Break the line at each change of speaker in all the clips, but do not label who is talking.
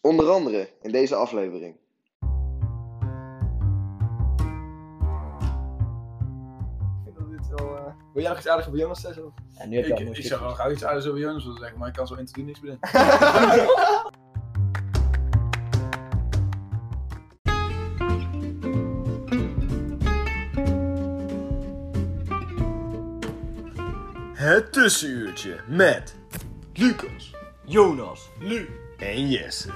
Onder andere in deze aflevering.
Ik vind dat dit wel. eh, Wil jij nog iets aardigs over Jonas zeggen? of?
Ja, nu heb je
Ik,
al een
ik zou wel gauw iets aardigs over Jonas willen zeggen, maar ik kan zo interview niks bedenken.
Het tussenuurtje met Lucas, Jonas, Lu en Jesse.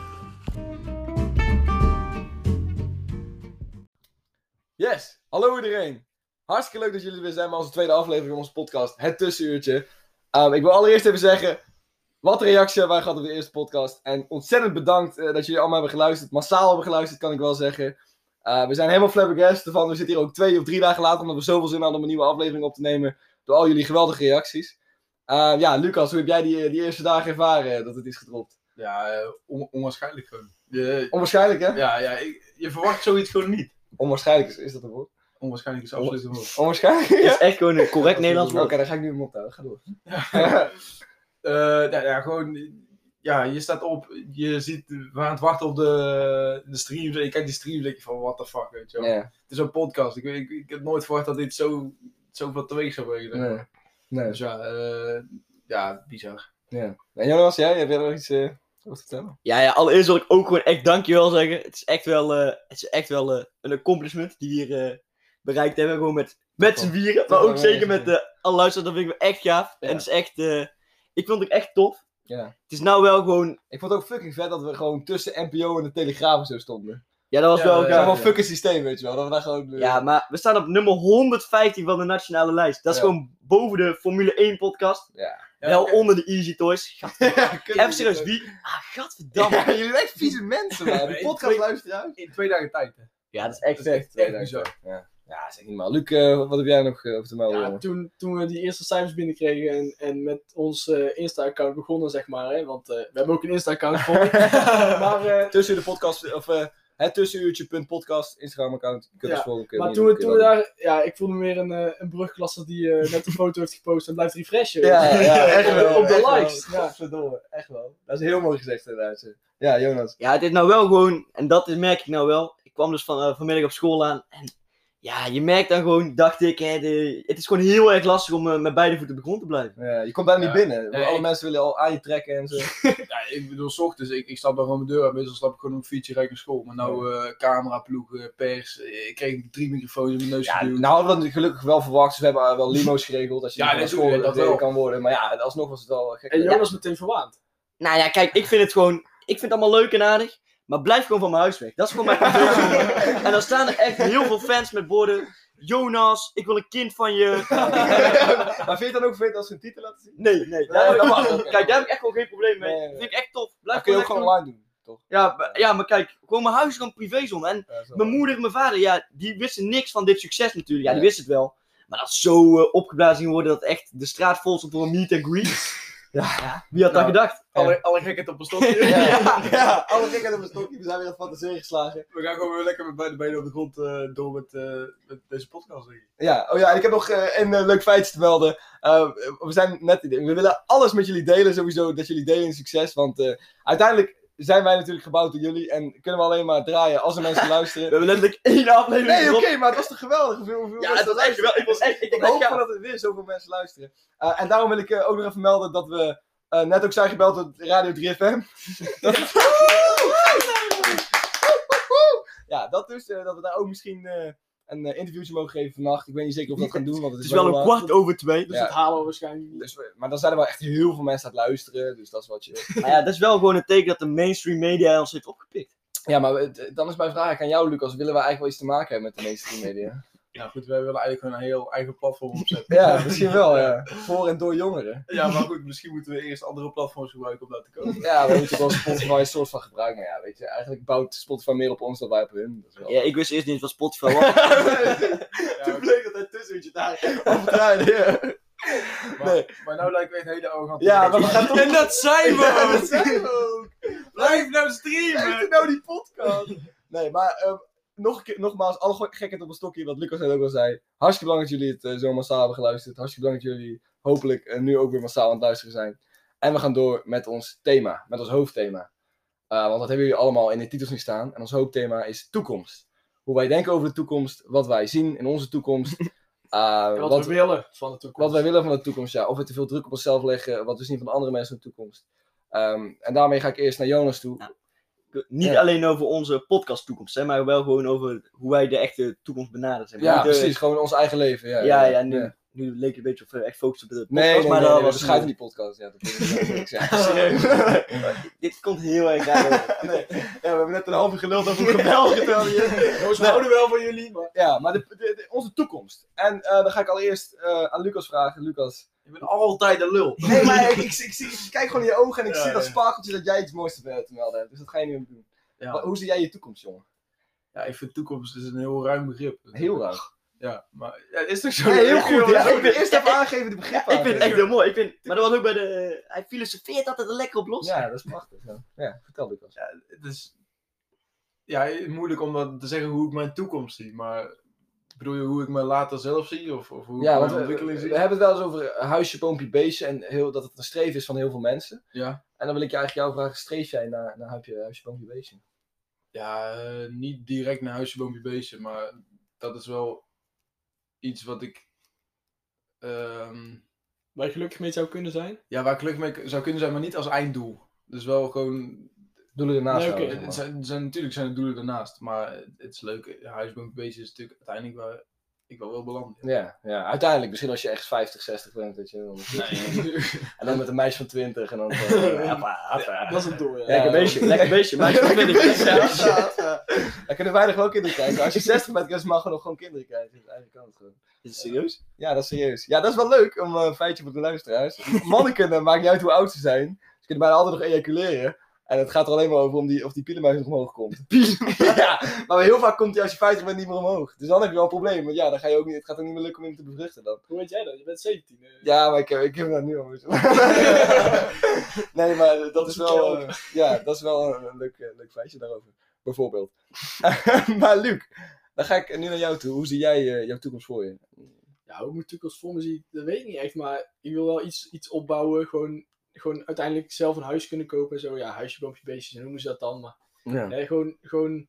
Yes! Hallo iedereen! Hartstikke leuk dat jullie er weer zijn bij onze tweede aflevering van onze podcast, Het Tussenuurtje. Ehm, ik wil allereerst even zeggen, wat reacties hebben wij gehad op de eerste podcast. En ontzettend bedankt eh, dat jullie allemaal hebben geluisterd. Massaal hebben geluisterd, kan ik wel zeggen. Eh, we zijn helemaal flabbergasted ervan. We zitten hier ook twee of drie dagen later, omdat we zoveel zin hadden om een nieuwe aflevering op te nemen. Door al jullie geweldige reacties. Eh, ja, Lucas, hoe heb jij die, die eerste dagen ervaren eh, dat het is gedropt?
Ja, eh, on- onwaarschijnlijk gewoon. Je,
Onwaarschijnlijk, hè?
ja, ja, ik- je verwacht zoiets gewoon niet.
Onwaarschijnlijk is, is dat een woord.
Onwaarschijnlijk is absoluut een woord.
Onwaarschijnlijk?
Het is echt gewoon een correct Nederlands
Oké,
woord.
dan ga ik nu hem ophouden. Ga door.
Eh, nou ja, gewoon, ja, je staat op, je ziet, we waren aan het wachten op de, de streams en je kijkt die streams en denk je van, what the fuck, weet je wel.
Ja,
Het is een podcast, ik, ik, ik heb nooit verwacht dat dit zo, zoveel teweeg zou brengen. zeg
nee.
maar.
Nee,
Dus ja, eh, ja, bizar.
ja. En Jonas, jij? Heb jij nog iets eh, over te vertellen?
Ja, ja, allereerst wil ik ook gewoon echt dankjewel zeggen. Het is echt wel, eh, het is echt wel eh, een accomplishment die we hier eh, bereikt hebben. Gewoon met, met z'n vieren, maar
wel
ook
mee
zeker met
eens,
de alle luisteraars. Dat vind ik wel echt gaaf.
Ja.
En het is echt, eh, ik vond het echt tof.
Ja.
Het is nou wel gewoon,
Ik vond het ook fucking vet dat we gewoon tussen NPO en de Telegraaf en zo stonden.
ja dat was
Ja,
wel
ja,
Dat is
gaaf.
wel een fucking systeem, weet je wel. Dat we daar gewoon... eh,
Ja, maar we staan op nummer 115 van de nationale lijst. Dat is
Ja.
gewoon boven de Formule 1 podcast.
Ja,
wel
oké.
onder de Easy Toys. Gat-
Ja, kut,
Even serieus, wie? Ah,
Ja,
gadverdamme.
jullie zijn echt vieze mensen, man. De
Nee,
podcast
twee-
luisteren uit.
In twee dagen tijd, hè.
Ja, dat is echt
Dat is
vet.
echt, echt bizar.
Ja, ja dat is echt niet normaal. Luc, eh, wat heb jij nog eh, over te melden?
Ja,
jongen?
toen, toen we die eerste cijfers binnenkregen en, en met ons eh, Insta-account begonnen, zeg maar. Hè, want eh, we hebben ook een Insta-account voor. maar eh,
Tussen de podcast... Of eh, het tussenuurtje.podcast Instagram-account. Je kunt
Ja,
ons volgen. kun je
maar
niet
toen,
doen,
we,
kun
toen
je
we
wel
daar... Ja, ik voelde meer een, eh, een brugklasser die eh, net een foto heeft gepost en blijft refreshen.
doen. Ja, ja, echt
Op de-
wel.
op de
echt wel.
likes, ja.
Godverdomme, echt wel. Dat is heel mooi gezegd, inderdaad. eh. Ja, Jonas.
Ja, het is nou wel gewoon, en dat is- merk ik nou wel. Ik kwam dus van, eh, vanmiddag op school aan. En ja, je merkt dan gewoon, dacht ik, hè, de- het is gewoon heel erg lastig om eh, met beide voeten op de grond te blijven.
Ja, je komt bijna niet
Ja.
binnen. want
Nee,
alle
ik-
mensen willen al aan je trekken en zo.
Ja, ik bedoel, s ochtends, ik, ik stap dan gewoon mijn deur uit. Meestal stap ik gewoon op een fietsje rijk naar school. Maar nou, eh camera, ploeg, eh, pers. eh, Ik kreeg drie microfoons in mijn neus
Ja,
geduwd.
nou hadden we dat nu gelukkig wel verwacht. Dus we hebben eh, wel limo's geregeld. Als je
Ja,
niet naar
dat
school
doe je, dat
gereden
wel.
kan worden. Maar ja, alsnog was het wel gek.
En Jonas meteen verwaand.
Nou ja, kijk, ik vind het gewoon, ik vind het allemaal leuk en aardig. Maar blijf gewoon van mijn huis weg. Dat is gewoon mijn conclusie. En dan staan er echt heel veel fans met borden. Jonas, ik wil een kind van je.
maar vind je het dan ook vet als ze een titel laten zien?
Nee, nee.
Nee,
Daar,
dat mag, oké.
Kijk, daar heb ik echt gewoon geen probleem mee.
Nee, nee, nee.
Vind ik echt tof. Blijf
Dat kun je ook
lekker
gewoon
doen.
online doen, toch?
ja, maar- ja, maar kijk, gewoon mijn huis is gewoon privézone. En
Ja, zo.
Mijn moeder en mijn vader, ja, die wisten niks van dit succes natuurlijk. Ja, die
Nee.
wisten het wel. Maar dat is zo eh, opgeblazen ging worden dat echt de straat vol stond voor een meet and greet.
Ja.
Wie had
Nou,
dat gedacht?
alle, alle gekheid op een stokje.
Ja, ja. alle gekken op een stokje. We zijn weer aan het fantaseren geslagen.
We gaan gewoon weer lekker met beide benen op de grond eh, door met, eh, met deze podcast. Denk ik.
Ja, oh ja, en ik heb nog eh, een eh, leuk feitje te melden. Eh, we zijn net, we willen alles met jullie delen sowieso, dat jullie delen in succes. Want eh, uiteindelijk zijn wij natuurlijk gebouwd door jullie. En kunnen we alleen maar draaien als er mensen luisteren.
We hebben letterlijk één aflevering
Nee, oké,
erop.
maar het was toch geweldig hoeveel, hoeveel
Ja,
mensen
het was
dat
echt wel. Ik was echt, ik
Ik
was echt
hoop
gaaf.
dat er weer zoveel mensen luisteren. Eh, en daarom wil ik eh, ook nog even melden dat we eh, net ook zijn gebeld door Radio 3FM. Dat- ja, dat dus. eh, dat we daar ook misschien eh, een eh, interviewtje mogen geven vannacht. Ik weet niet zeker of we dat gaan doen. Want het
Het
is,
is wel een
laat.
kwart over twee.
Dus
Ja.
dat halen we waarschijnlijk.
Dus we- maar dan zijn er wel echt heel veel mensen aan het luisteren. Dus dat is wat je...
Maar ja, dat is wel gewoon een teken dat de mainstream media ons heeft opgepikt.
ja, maar het- eh, dan is mijn vraag aan jou, Lucas. Willen we eigenlijk wel iets te maken hebben met de mainstream media?
Ja, goed, wij willen eigenlijk gewoon een heel eigen platform opzetten.
ja, misschien wel, ja. Voor en door jongeren.
Ja, maar goed, misschien moeten we eerst andere platforms gebruiken om daar te komen.
Ja, we moeten wel Spotify een soort van gebruiken. Maar ja, weet je, eigenlijk bouwt Spotify meer op ons dan wij op hun. Dat is wel...
Ja, ik wist eerst niet wat Spotify was.
Ja,
bleek dat hij tussen daar.
Overtuigen, ja.
maar,
Nee.
maar nou lijkt me echt een hele arrogante.
Ja, maar we gaan toch...
En dat
Ja,
zijn we!
dat zijn we ook.
Blijf nou streamen!
nou die podcast. Nee, maar ehm, nog een keer, nogmaals, alle gek- gekheid op een stokje, wat Lucas net ook al zei. Hartstikke bedankt dat jullie het eh, zo massaal hebben geluisterd. Hartstikke bedankt dat jullie hopelijk eh, nu ook weer massaal aan het luisteren zijn. En we gaan door met ons thema, met ons hoofdthema. Eh, want dat hebben jullie allemaal in de titels nu staan. En ons hoofdthema is toekomst. Hoe wij denken over de toekomst, wat wij zien in onze toekomst. eh,
Wat,
wat-
we willen van de toekomst.
wat wij willen van de toekomst, ja. Of we te veel druk op onszelf leggen, wat we zien van andere mensen in de toekomst. Ehm, en daarmee ga ik eerst naar Jonas toe.
Niet
Ja.
alleen over onze podcast toekomst, hè, maar wel gewoon over hoe wij de echte toekomst benaderen. zeg maar.
Ja,
Niet, eh,
precies. Gewoon ons eigen leven. Eh, Ja,
Ja, ja, nu,
Nee,
nu leek het een beetje of we echt focussen op de podcast,
nee, nee,
maar
nee,
dat
nee, we
was het
schijten
niet.
die podcast. Ja, dat wil ik niet zeggen.
Dit komt heel erg raar over.
we hebben net een halve geluld over geweld
Jongens, we houden wel van jullie, maar...
Ja, maar de, de- de- onze toekomst. En eh, dan ga ik allereerst eh, aan Lucas vragen. Lucas.
Je bent altijd een lul.
Nee, maar ik, ik, ik, zie- ik kijk gewoon in je ogen en ik
Ja,
zie dat
ja.
sparkeltje dat jij iets moois te ver- te melden hebt. Dus dat ga je nu ook doen. Wa-
Ja,
Hoe zie jij je toekomst, jongen?
ja, ik vind toekomst is een heel ruim begrip.
Heel raar.
Ja, maar... Ja, is toch zo?
Nee, heel goed. Ja, ik wil eerst
ik-
even aangeven de begrippen.
Ik vind het echt
aangeven.
heel mooi. Ik vind, maar dat was ook bij de... Hij filosofeert altijd er lekker op los.
Ja, dat is prachtig. Ja, ja vertel Lucas.
Het is... Ja, moeilijk om dat te zeggen hoe ik mijn toekomst zie, maar... Bedoel je hoe ik me later zelf zie? Of, of hoe
Ja,
ik
want eh,
mijn
we,
ontwikkeling
we
zie?
hebben het wel eens over eh, huisje, boompje, beestje en heel, dat het een streven is van heel veel mensen.
Ja.
En dan wil ik je eigenlijk jou vragen, streef jij naar, naar huisje, huisje, boompje, beestje?
Ja, eh, niet direct naar huisje, boompje, beestje, maar dat is wel iets wat ik... ehm,
Waar je gelukkig mee zou kunnen zijn.
ja, waar ik gelukkig mee zou kunnen zijn, maar niet als einddoel. Dus wel gewoon...
Doelen ernaast
Nee, oké.
houden,
Het
zeg maar.
zijn, het zijn- natuurlijk zijn er doelen daarnaast, maar het is leuk. Huisje, boompje, beestje is natuurlijk uiteindelijk waar ik wel wil belanden.
Ja, ja, uiteindelijk. Misschien als je echt 50, 60 bent, weet je. dan- En dan met een meisje van 20 en dan... eh,
Ja, maar-
Dat is het doel, ja.
Ja.
Lekker beestje, lekker beestje. Maar ik vind het lekker beestje.
Daar kunnen weinig wel kinderen krijgen. Als je 60 bent, kun je mag gewoon nog gewoon kinderen krijgen. Dat is eigenlijk kan het gewoon.
Is het serieus?
Ja, dat is serieus. Ja, dat is wel leuk om eh, een feitje voor de luisteraars. Mannen kunnen, eh, maakt niet uit hoe oud ze zijn. Ze kunnen bijna altijd nog ejaculeren. En het gaat er alleen maar over om die, of die pielenmuis nog omhoog komt. ja, maar heel vaak komt hij als je 50 bent niet meer omhoog. Dus dan heb je wel een probleem. Want ja, dan ga je ook niet, het gaat ook niet meer lukken om hem te bevruchten dan.
Hoe weet jij dat? Je bent 17. eh.
Ja, maar ik, heb- ik heb dat nu al. dus- nee, maar dat is wel, eh, ja, dat is wel een, een leuk, eh, leuk feitje daarover. Bijvoorbeeld. maar Luc, dan ga ik nu naar jou toe. Hoe zie jij eh, jouw toekomst voor je?
Ja, hoe ik mijn toekomst voor me zie, dat weet ik niet echt. Maar ik wil wel iets, iets opbouwen. Gewoon, gewoon uiteindelijk zelf een huis kunnen kopen en zo. Ja, huisje, boompje, beestjes en noemen ze dat dan. Maar
Ja.
nee, gewoon, gewoon...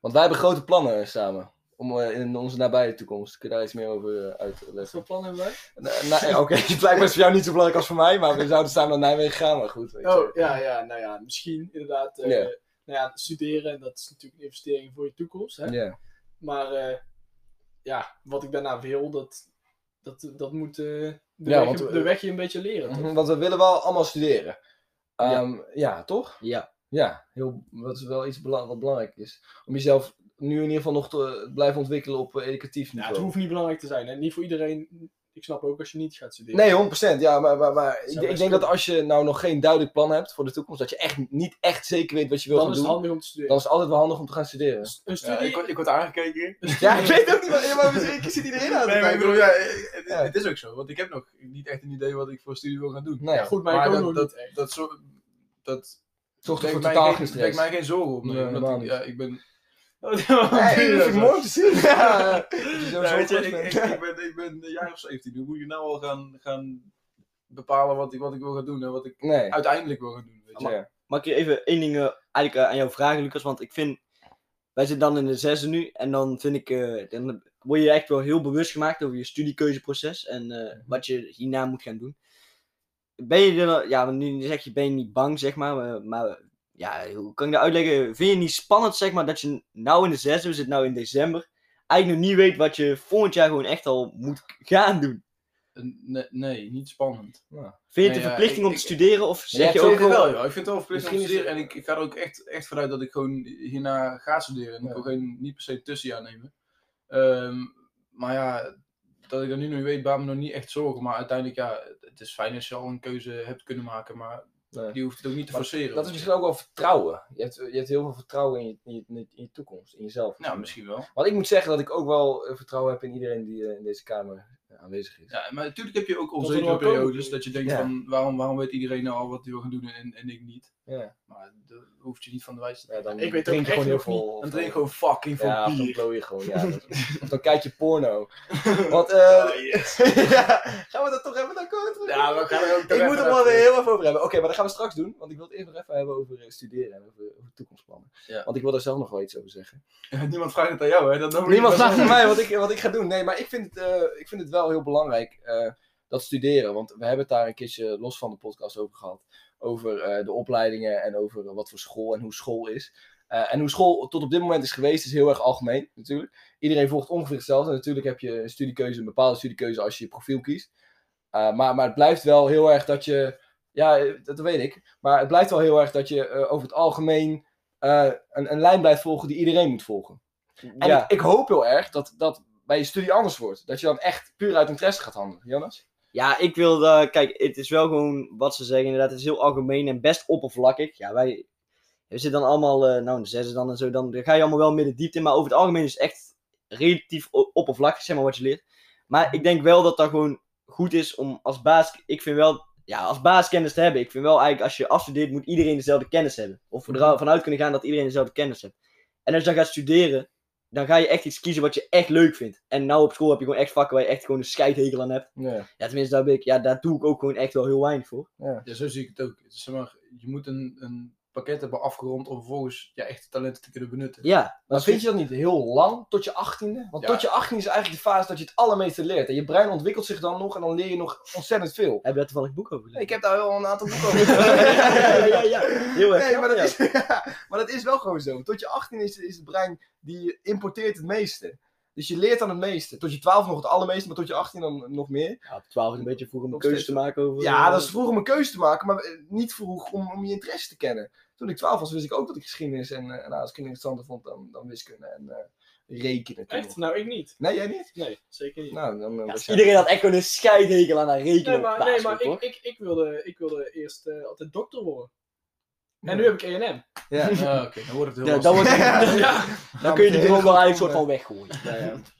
Want wij hebben grote plannen samen. Om, eh, in onze nabije toekomst. Kun je daar iets meer over eh,
Wat
uitleggen?
voor plannen hebben wij?
Na- na- ja, Oké, het lijkt me voor jou niet zo belangrijk als voor mij. Maar we zouden samen naar Nijmegen gaan. Maar goed. Weet je.
Oh, ja, ja, nou ja, misschien inderdaad. eh,
Ja.
Nou ja, studeren, en dat is natuurlijk een investering voor je toekomst. Hè?
Ja.
Maar eh, ja, wat ik daarna wil, dat, dat, dat moet eh, de,
Ja,
weg,
want we-
de weg je een beetje leren. toch?
Mhm, Want we willen wel allemaal studeren. Ehm, ja. toch?
Ja.
Ja, heel, dat is wel iets bela- wat belangrijk is. Om jezelf nu in ieder geval nog te eh, blijven ontwikkelen op eh, educatief
Ja, het
niveau.
hoeft niet belangrijk te zijn. Hè? Niet voor iedereen. Ik snap ook als je niet gaat studeren.
Nee, 100%. Ja, maar, maar, maar
Zou
ik,
best
ik denk dat
kunnen.
als je nou nog geen duidelijk plan hebt voor de toekomst, dat je echt niet echt zeker weet wat je wil
dan
gaan
is het
doen,
handig om te studeren.
dan is het altijd wel handig om te gaan studeren.
Een
Ja,
studie,
ik, word- ik word aangekeken.
Ja, ik weet ook niet, maar, maar ik zit iedereen aan
Nee, maar ik bedoel, ja, het,
Ja.
het is ook zo. Want ik heb nog niet echt een idee wat ik voor studie wil gaan doen.
Nee,
Ja, goed, maar, ik ook
dat,
nog
dat,
niet echt.
dat, zo, dat
zorg
brengt
ervoor
mij
totaal
geen-
geen
brengt
stress.
mij geen zorgen op. Nee,
Nee,
omdat
helemaal
ik,
niet.
ja, ik ben...
Nee, dat
Ja,
vind ik mooi om te zien. Ja, dat je zo
Ja, weet je,
zorgloos
ik,
bent.
ik, ik ben, ik ben een jaar of 17. Hoe moet je nou al gaan, gaan bepalen wat ik, wat ik wil gaan doen en wat ik
Nee.
uiteindelijk wil gaan doen? Weet je?
Ja.
Mag ik je even één ding eh, eigenlijk eh, aan jou vragen, Lucas? Want ik vind... Wij zitten dan in de zesde nu. En dan vind ik... eh, dan word je echt
Mhm.
wel heel bewust gemaakt over je studiekeuzeproces. En eh, wat je hierna moet gaan doen. ben je er dan- ja, want nu zeg je ben je niet bang, zeg maar, maar, maar ja, hoe kan ik dat uitleggen? Vind je het niet spannend, zeg maar, dat je nou in de zesde, we zitten nou in december, eigenlijk nog niet weet wat je volgend jaar gewoon echt al moet gaan doen?
Nee, nee, niet spannend. Ja.
Vind je het
Nee,
een
Nou ja,
verplichting
ik-
om te
ik-
studeren of
Ja,
zeg
ik
je ook
vind het
gewoon...
wel, joh. Ik vind het wel verplicht om te
Misschien is
studeren. En ik, ik ga er ook echt, echt vanuit dat ik gewoon hierna ga studeren. En ik wil geen, niet per se tussenjaar nemen. Ehm, maar ja, dat ik dat nu nog niet weet, baat me nog niet echt zorgen. Maar uiteindelijk, ja, het is fijn als je al een keuze hebt kunnen maken. Maar
Nee.
die hoeft het ook niet te
Maar
forceren.
Dat is misschien ook wel vertrouwen. Je hebt, je hebt heel veel vertrouwen in je, in, je, in je- in je toekomst, in jezelf.
Ja, misschien wel.
Want ik moet zeggen dat ik ook wel eh, vertrouwen heb in iedereen die eh, in deze kamer eh, aanwezig is.
Ja, maar natuurlijk heb je ook
er
onzekere
wel komen,
periodes.
bedoel
Dat je denkt
Ja.
van, waarom, waarom weet iedereen nou al wat hij wil gaan doen en, en ik niet.
Ja.
Maar dat hoeft je niet van de wijs te
Ja, dan
Ik weet
drink je
ook
gewoon heel
echt nog
veel.
Dan drink ik gewoon fucking veel
ja, of dan
bier.
blow je gewoon. Ja, dat- of dan kijk je porno. Want, eh, ja, gaan we dat toch even naar kort?
Ja, we gaan er ook
Ik moet er wel weer heel even over hebben. Oké, maar dat gaan we straks doen. Want ik wil het eerst nog even hebben over eh, studeren en over, over toekomstplannen.
Ja.
Want ik wil daar zelf nog wel iets over zeggen.
Niemand vraagt het aan jou, hè? Dat doen we
Niemand
niet.
vraagt aan mij wat ik, wat ik ga doen. Nee, maar ik vind het, eh, ik vind het wel heel belangrijk, eh, dat studeren. Want we hebben het daar een keertje los van de podcast over gehad. Over eh, de opleidingen en over eh, wat voor school en hoe school is. Eh, en hoe school tot op dit moment is geweest, is heel erg algemeen natuurlijk. Iedereen volgt ongeveer hetzelfde. Natuurlijk heb je een studiekeuze, een bepaalde studiekeuze als je je profiel kiest. Eh, maar, maar het blijft wel heel erg dat je. Ja, eh, dat weet ik. Maar het blijft wel heel erg dat je eh, over het algemeen eh, een, een lijn blijft volgen die iedereen moet volgen. En
Ja.
ik, ik hoop heel erg dat dat bij je studie anders wordt. Dat je dan echt puur uit interesse gaat handelen. Jonas?
Ja, ik wil. daar- kijk, het is wel gewoon wat ze zeggen. Inderdaad, het is heel algemeen en best oppervlakkig. Ja, wij. We zitten dan allemaal. eh, nou, in de zesde dan en zo. Dan, dan ga je allemaal wel midden diepte in. Maar over het algemeen is het echt relatief o- oppervlakkig, zeg maar, wat je leert. Maar ik denk wel dat dat gewoon goed is om als baas. Ik vind wel. Ja, als basiskennis te hebben. Ik vind wel eigenlijk als je afstudeert, moet iedereen dezelfde kennis hebben. Of er vanuit kunnen gaan dat iedereen dezelfde kennis heeft. En als je dan gaat studeren, dan ga je echt iets kiezen wat je echt leuk vindt. En nou op school heb je gewoon echt vakken waar je echt gewoon een scheidhekel aan hebt.
Nee.
Ja, tenminste, daar, ben ik, ja, daar doe ik ook gewoon echt wel heel weinig voor.
Ja, zo zie ik het ook. Het is, zeg maar, je moet een, een pakket hebben afgerond om vervolgens je echte talenten te kunnen benutten.
Ja,
Maar vind je dat niet heel lang, tot je achttiende? Want
Ja.
tot je achttiende is eigenlijk de fase dat je het allermeeste leert. En je brein ontwikkelt zich dan nog en dan leer je nog ontzettend veel.
heb je daar toevallig een boek over gelezen?
Ik heb daar wel een aantal boeken over.
ja, ja, ja, heel erg.
Nee, maar dat,
ja.
is, maar dat is wel gewoon zo. Tot je 18 is, is het brein die importeert het meeste. Dus je leert dan het meeste. Tot je 12 nog het allermeeste, maar tot je 18 dan nog meer.
Ja, op 12 is een beetje vroeg om een
Nog
keuze te
steeds.
maken over...
Ja,
eh,
dat is vroeg om een keuze te maken, maar eh, niet vroeg om, om je interesse te kennen. Toen ik 12 was, wist ik ook dat ik geschiedenis en, eh, en aardrijkskunde interessanter vond dan, dan wiskunde en eh, rekenen. toen
Echt?
nog.
Nou, ik niet.
Nee, jij niet?
Nee, zeker niet.
Nou, dan, eh,
ja,
was jij-
iedereen had echt gewoon een scheidhekel aan haar rekenen
Nee,
op
maar, nee,
basisschool,
maar ik,
hoor.
ik, ik, wilde, ik wilde eerst eh, altijd dokter worden.
Ja.
En nu heb ik E E&M.
Ja.
Ja, Ah, oké, dan wordt het heel
Ja,
lastig.
dan, wordt- dan kun je die
Hele
droom wel
grote
eigenlijk soort van weggooien.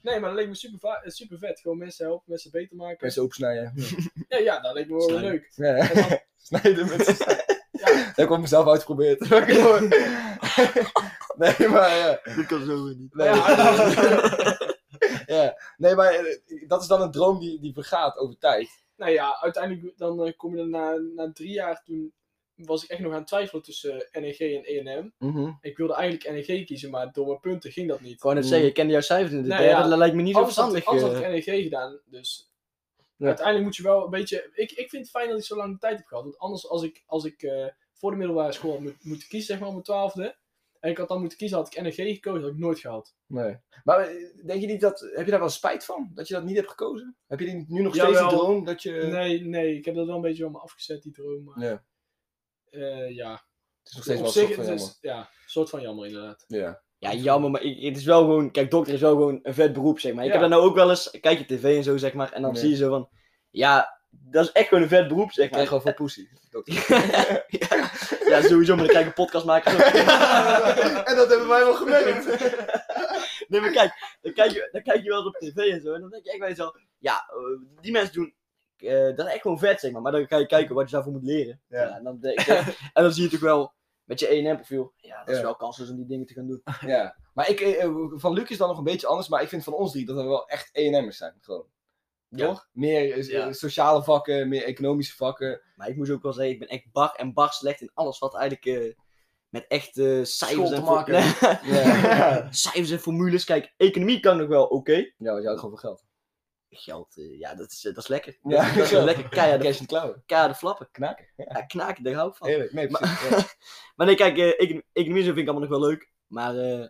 Nee, maar dat leek me super, va- eh, super vet. Gewoon mensen helpen, mensen beter maken.
Mensen opsnijden.
Ja, ja, dat leek me wel
Snijden.
leuk.
Ja,
En dan-
Snijden met z'n snijden.
Ja.
Dat heb ik op mezelf uitgeprobeerd. nee, maar ja.
Dat kan zo niet.
Nee, ja. nee maar eh, dat is dan een droom die, die vergaat over tijd.
nou ja, uiteindelijk dan eh, kom je er na, na drie jaar toen was ik echt nog aan het twijfelen tussen eh, NEG en E&M. Ik wilde eigenlijk NEG kiezen, maar door mijn punten ging dat niet.
Gewoon het zeggen, ik ken jouw cijfers in de
Nee,
derde,
ja.
dat lijkt me niet zo
Anders had,
verstandig.
anders had
eh.
ik NEG gedaan, dus
Ja.
uiteindelijk moet je wel een beetje... Ik, ik vind het fijn dat ik zo lang de tijd heb gehad, want anders als ik, als ik eh, voor de middelbare school had moet, moeten kiezen, zeg maar, op mijn twaalfde, en ik had dan moeten kiezen, had ik NEG gekozen, had ik nooit gehaald.
Nee. Maar eh, denk je niet dat. Heb je daar wel spijt van? Dat je dat niet hebt gekozen? Heb je die- nu nog
Jawel.
steeds de droom dat je. Het
Nee, nee, ik heb dat wel een beetje van me afgezet, die droom, maar...
Ja.
eh, ja,
is nog steeds wel
op
een
zich
soort van
het is-
jammer.
ja, een soort van jammer inderdaad.
Ja.
Ja, jammer, maar ik, het is wel gewoon... Kijk, dokter is wel gewoon een vet beroep, zeg maar. Ik
Ja.
heb dat nou ook wel eens... Kijk je tv en zo, zeg maar. En dan
Ja.
zie je zo van... Ja, dat is echt gewoon een vet beroep, zeg
Ik krijg
maar.
wel veel poesie.
ja, sowieso, maar dan kijk ik een podcast maken.
en dat hebben wij wel gemerkt.
Nee, maar kijk, dan kijk, je, dan kijk je wel eens op tv en zo. En dan denk je echt bij jezelf... Ja, eh, die mensen doen... eh, dat is echt gewoon vet, zeg maar. Maar dan ga je kijken wat je daarvoor moet leren.
Ja.
en, dan denk ik, eh, en dan zie je toch wel... Met je E&M-profiel. Ja, dat is
Ja.
wel kansloos om die dingen te gaan doen.
Ja. Maar ik, eh, eh, van Luc is dan nog een beetje anders, maar ik vind van ons drie dat we wel echt ENM'ers zijn. Gewoon.
Ja.
Toch? Meer eh,
Ja.
sociale vakken, meer economische vakken.
Maar ik moest ook wel zeggen, ik ben echt bar en bar slecht in alles wat eigenlijk... eh, met echt eh, cijfers
te
en voor-
maken.
Nee.
Ja,
cijfers en formules. Kijk, economie kan nog wel oké.
ja want jij houdt gewoon van geld.
geld, eh, ja, dat is, eh, dat is lekker.
Ja,
Ja, dat is
zo.
lekker
Cash
keiharde
in klauwen.
keiharde flappen.
Knaken. Ja,
Ja, knaken, daar hou
Oh.
ik van.
heerlijk. Nee,
Maar-
precies. Ja.
Maar nee, kijk, eh, econ- economie zo vind ik allemaal nog wel leuk. Maar eh,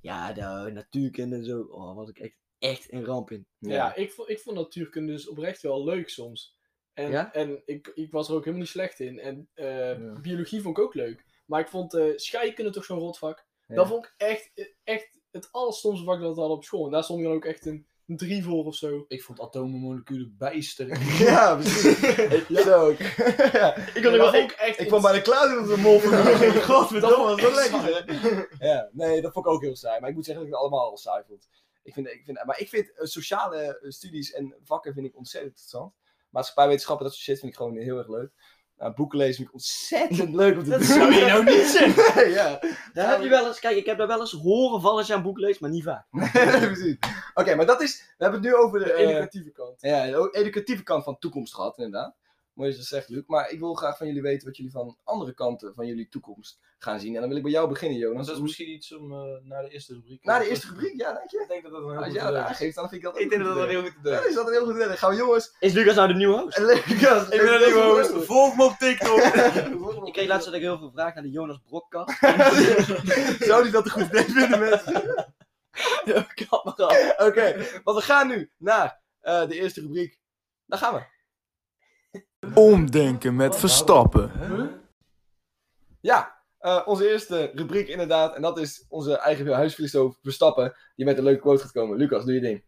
ja, de natuurkunde en zo, oh, was ik echt, echt een ramp in.
Ja, ik, vond, ik vond natuurkunde dus oprecht wel leuk soms. En,
Ja?
en ik, ik was er ook helemaal niet slecht in. En eh,
Ja.
biologie vond ik ook leuk. Maar ik vond eh scheikunde toch zo'n rotvak.
Ja.
Dat vond ik echt, echt het allerstomste vak dat we hadden op school. En daar stond ik dan ook echt een, een drie voor of zo.
Ik vond atomen, moleculen bijster.
Ja, precies. Zo. ik- ja.
Ik
dat
kon er wel
vond
ook echt...
Ik
in-
kwam bij de Klaas op de mol voor de Godverdomme, dat
Dat vond
was
ik
wel lekker. hè? Ja, nee, dat vond ik ook heel saai. Maar ik moet zeggen dat ik het allemaal al saai vond. Ik vind, ik vind, maar ik vind eh, sociale eh, studies en vakken vind ik ontzettend interessant. Maatschappijwetenschappen, dat soort shit vind ik gewoon heel erg leuk. Nou, boeken lezen vind ik ontzettend leuk om te doen.
zou je nou
niet zeggen. Nee, ja.
Daar heb je wel eens, kijk, ik heb daar wel eens horen van als je een boek leest, maar niet vaak.
Nee, precies. Oké, maar dat is... We hebben het nu over de...
De
eh,
educatieve kant.
Ja, de educatieve kant van toekomst gehad, inderdaad. Mooi dat je dat zegt, Luc. Maar ik wil graag van jullie weten wat jullie van andere kanten van jullie toekomst gaan zien. En dan wil ik bij jou beginnen, Jonas.
Dat is misschien iets om eh naar de eerste rubriek.
Na de eerste rubriek, ja, denk je?
Ik denk dat dat een heel
Als
goed
jij dat
idee is.
aangeeft, dan vind Ah, ik dat ook een goed idee.
heel goed
Ja, is dat een heel goed idee. Dan gaan we jongens...
Is Lucas nou de nieuwe host?
Lucas,
Ik ben een nieuwe host.
Volg me op TikTok!
Ik kreeg laatst dat ik heel veel vragen naar de Jonas Brokkast.
Zou die dat een goed idee vinden, mensen?
Kap maar af.
Oké, want we gaan nu naar eh, de eerste rubriek. Daar gaan we.
Omdenken met Verstappen.
nou? Ja, eh, onze eerste rubriek inderdaad. En dat is onze eigen huisfilosoof Verstappen. Die met een leuke quote gaat komen. Lucas, doe je ding.